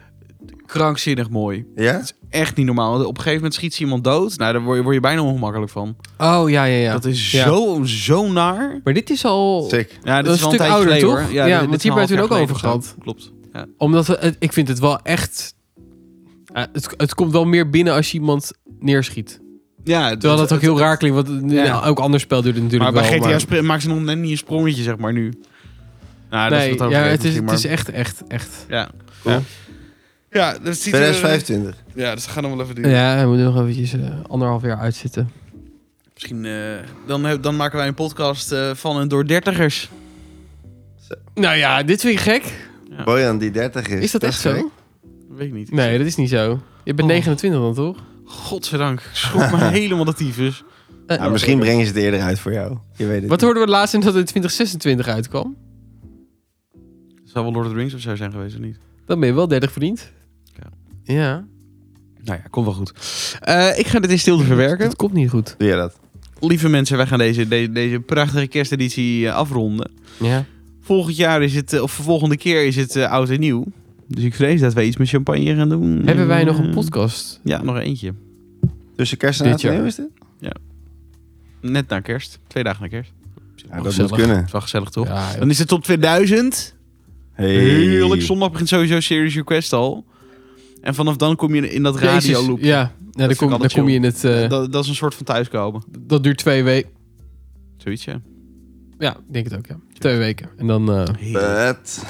A: Krankzinnig mooi.
B: Ja?
A: Echt niet normaal. Op een gegeven moment schiet ze iemand dood. Nou, daar word je, word je bijna ongemakkelijk van.
C: Oh, ja, ja, ja.
A: Dat is
C: Ja.
A: zo, zo naar.
C: Maar dit is al...
B: Sick.
A: Ja,
C: Dat is een stuk
A: tijdje
C: ouder,
A: geleden,
C: toch?
A: hoor.
C: Ja,
A: dit-
C: want
A: dit is
C: hier
A: een
C: hebben we
A: half
C: toen
A: jaar
C: ook
A: geleden
C: over
A: of zo. Klopt. Ja.
C: Omdat we, het- ik vind het wel echt. Ah, het, het komt wel meer binnen als je iemand neerschiet.
A: ja het-
C: Terwijl dat ook
A: het-
C: heel raar klinkt, want eh,
A: Ja.
C: nou, ook ander spel doet
A: Maar
C: het natuurlijk
A: bij
C: wel.
A: GTA
C: maar-
A: spring- maakt ze nog net niet een sprongetje, zeg maar, nu. Nou, dat
C: nee,
A: is wat
C: ja,
A: overdreven
C: het is,
A: misschien,
C: het
A: maar-
C: is echt, echt, echt.
A: Ja.
B: Cool.
A: Ja. Ja, dat ziet
C: eh,
A: er-
B: 2025.
A: Ja, dus dat gaat nog wel even duren.
C: Ja, we moeten nog eventjes eh, anderhalf jaar uitzitten.
A: Misschien eh, dan, heb- dan maken wij een podcast eh, van en door dertigers.
C: Nou ja, dit vind ik gek.
B: Bojan die 30 is.
C: Is dat echt zo?
B: gek.
A: Weet ik niet.
C: Nee, dat is niet zo. Je bent
A: Oh.
C: 29 dan toch?
A: Godzijdank. Schrok me helemaal dat tyfus.
C: Eh,
B: Nou, misschien brengen ze het eerder uit voor jou. Je weet het
C: Wat
B: niet.
C: hoorden we laatst in dat het in 2026 uitkwam?
A: Zou wel Lord of the Rings of zo zijn geweest of niet?
C: Dan ben je wel 30 verdiend.
A: Ja.
C: Ja.
A: Nou ja, komt wel goed. Eh, ik ga dit in stilte verwerken.
C: Het komt niet goed.
B: Doe jij dat?
A: Lieve mensen, wij gaan deze, deze, deze prachtige kersteditie eh, afronden.
C: Ja.
A: Volgend jaar is het, eh, of volgende keer is het eh, oud en nieuw. Dus ik vrees dat wij iets met champagne gaan doen.
C: Hebben
A: En,
C: wij nog een
A: eh,
C: podcast?
A: Ja, nog eentje.
B: Tussen kerst en
C: Dit
B: oud en
C: jaar.
B: nieuw is dit?
A: Net na kerst. Twee dagen na kerst.
B: Ja, dat
C: Oh, gezellig.
B: moet kunnen.
A: Dat is wel gezellig, toch?
C: Ja,
A: Dan is het top 2000.
B: Hey.
A: Heerlijk. Zondag begint sowieso Series Request al. En vanaf dan kom je in dat
C: Jezus,
A: radioloop.
C: Ja, nou, dan,
A: vind
C: kom,
A: ik
C: dan
A: altijd
C: kom je in het... eh, dat,
A: Dat, dat is een soort van thuiskomen.
C: duurt twee weken.
A: Zoiets, ja.
C: Ja, ik denk het ook, ja. Twee weken. En dan... eh,
B: Bet.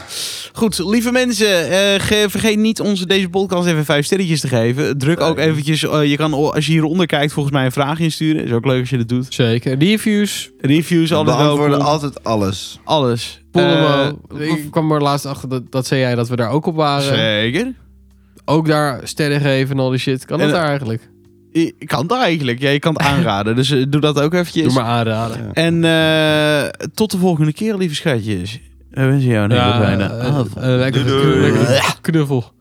A: Goed, lieve mensen, eh, ge- vergeet niet onze deze podcast even vijf sterretjes te geven. Druk ook
B: Zeker.
A: eventjes, eh, je kan o- als je hieronder kijkt volgens mij een vraag insturen. Is ook leuk als je dat doet.
C: zeker. Reviews.
A: Reviews,
B: We
A: alles
B: beantwoorden
A: welkom.
B: altijd alles.
A: alles.
C: Polemo.
A: Eh,
C: ik kwam er laatst achter dat, dat zei jij dat we daar ook op waren.
A: Zeker.
C: Ook daar sterren geven en al die shit. Kan dat
A: En-
C: daar eigenlijk?
A: Ik ik kan dat eigenlijk. Ja, je kan het aanraden. Dus eh, doe dat ook eventjes.
C: Doe maar aanraden.
B: Ja.
A: En eh, tot de volgende keer, lieve schatjes. We wensen jou een hele fijne
C: eh,
A: avond.
C: eh, lekker
B: Doei, doei.
C: lekker knuffel.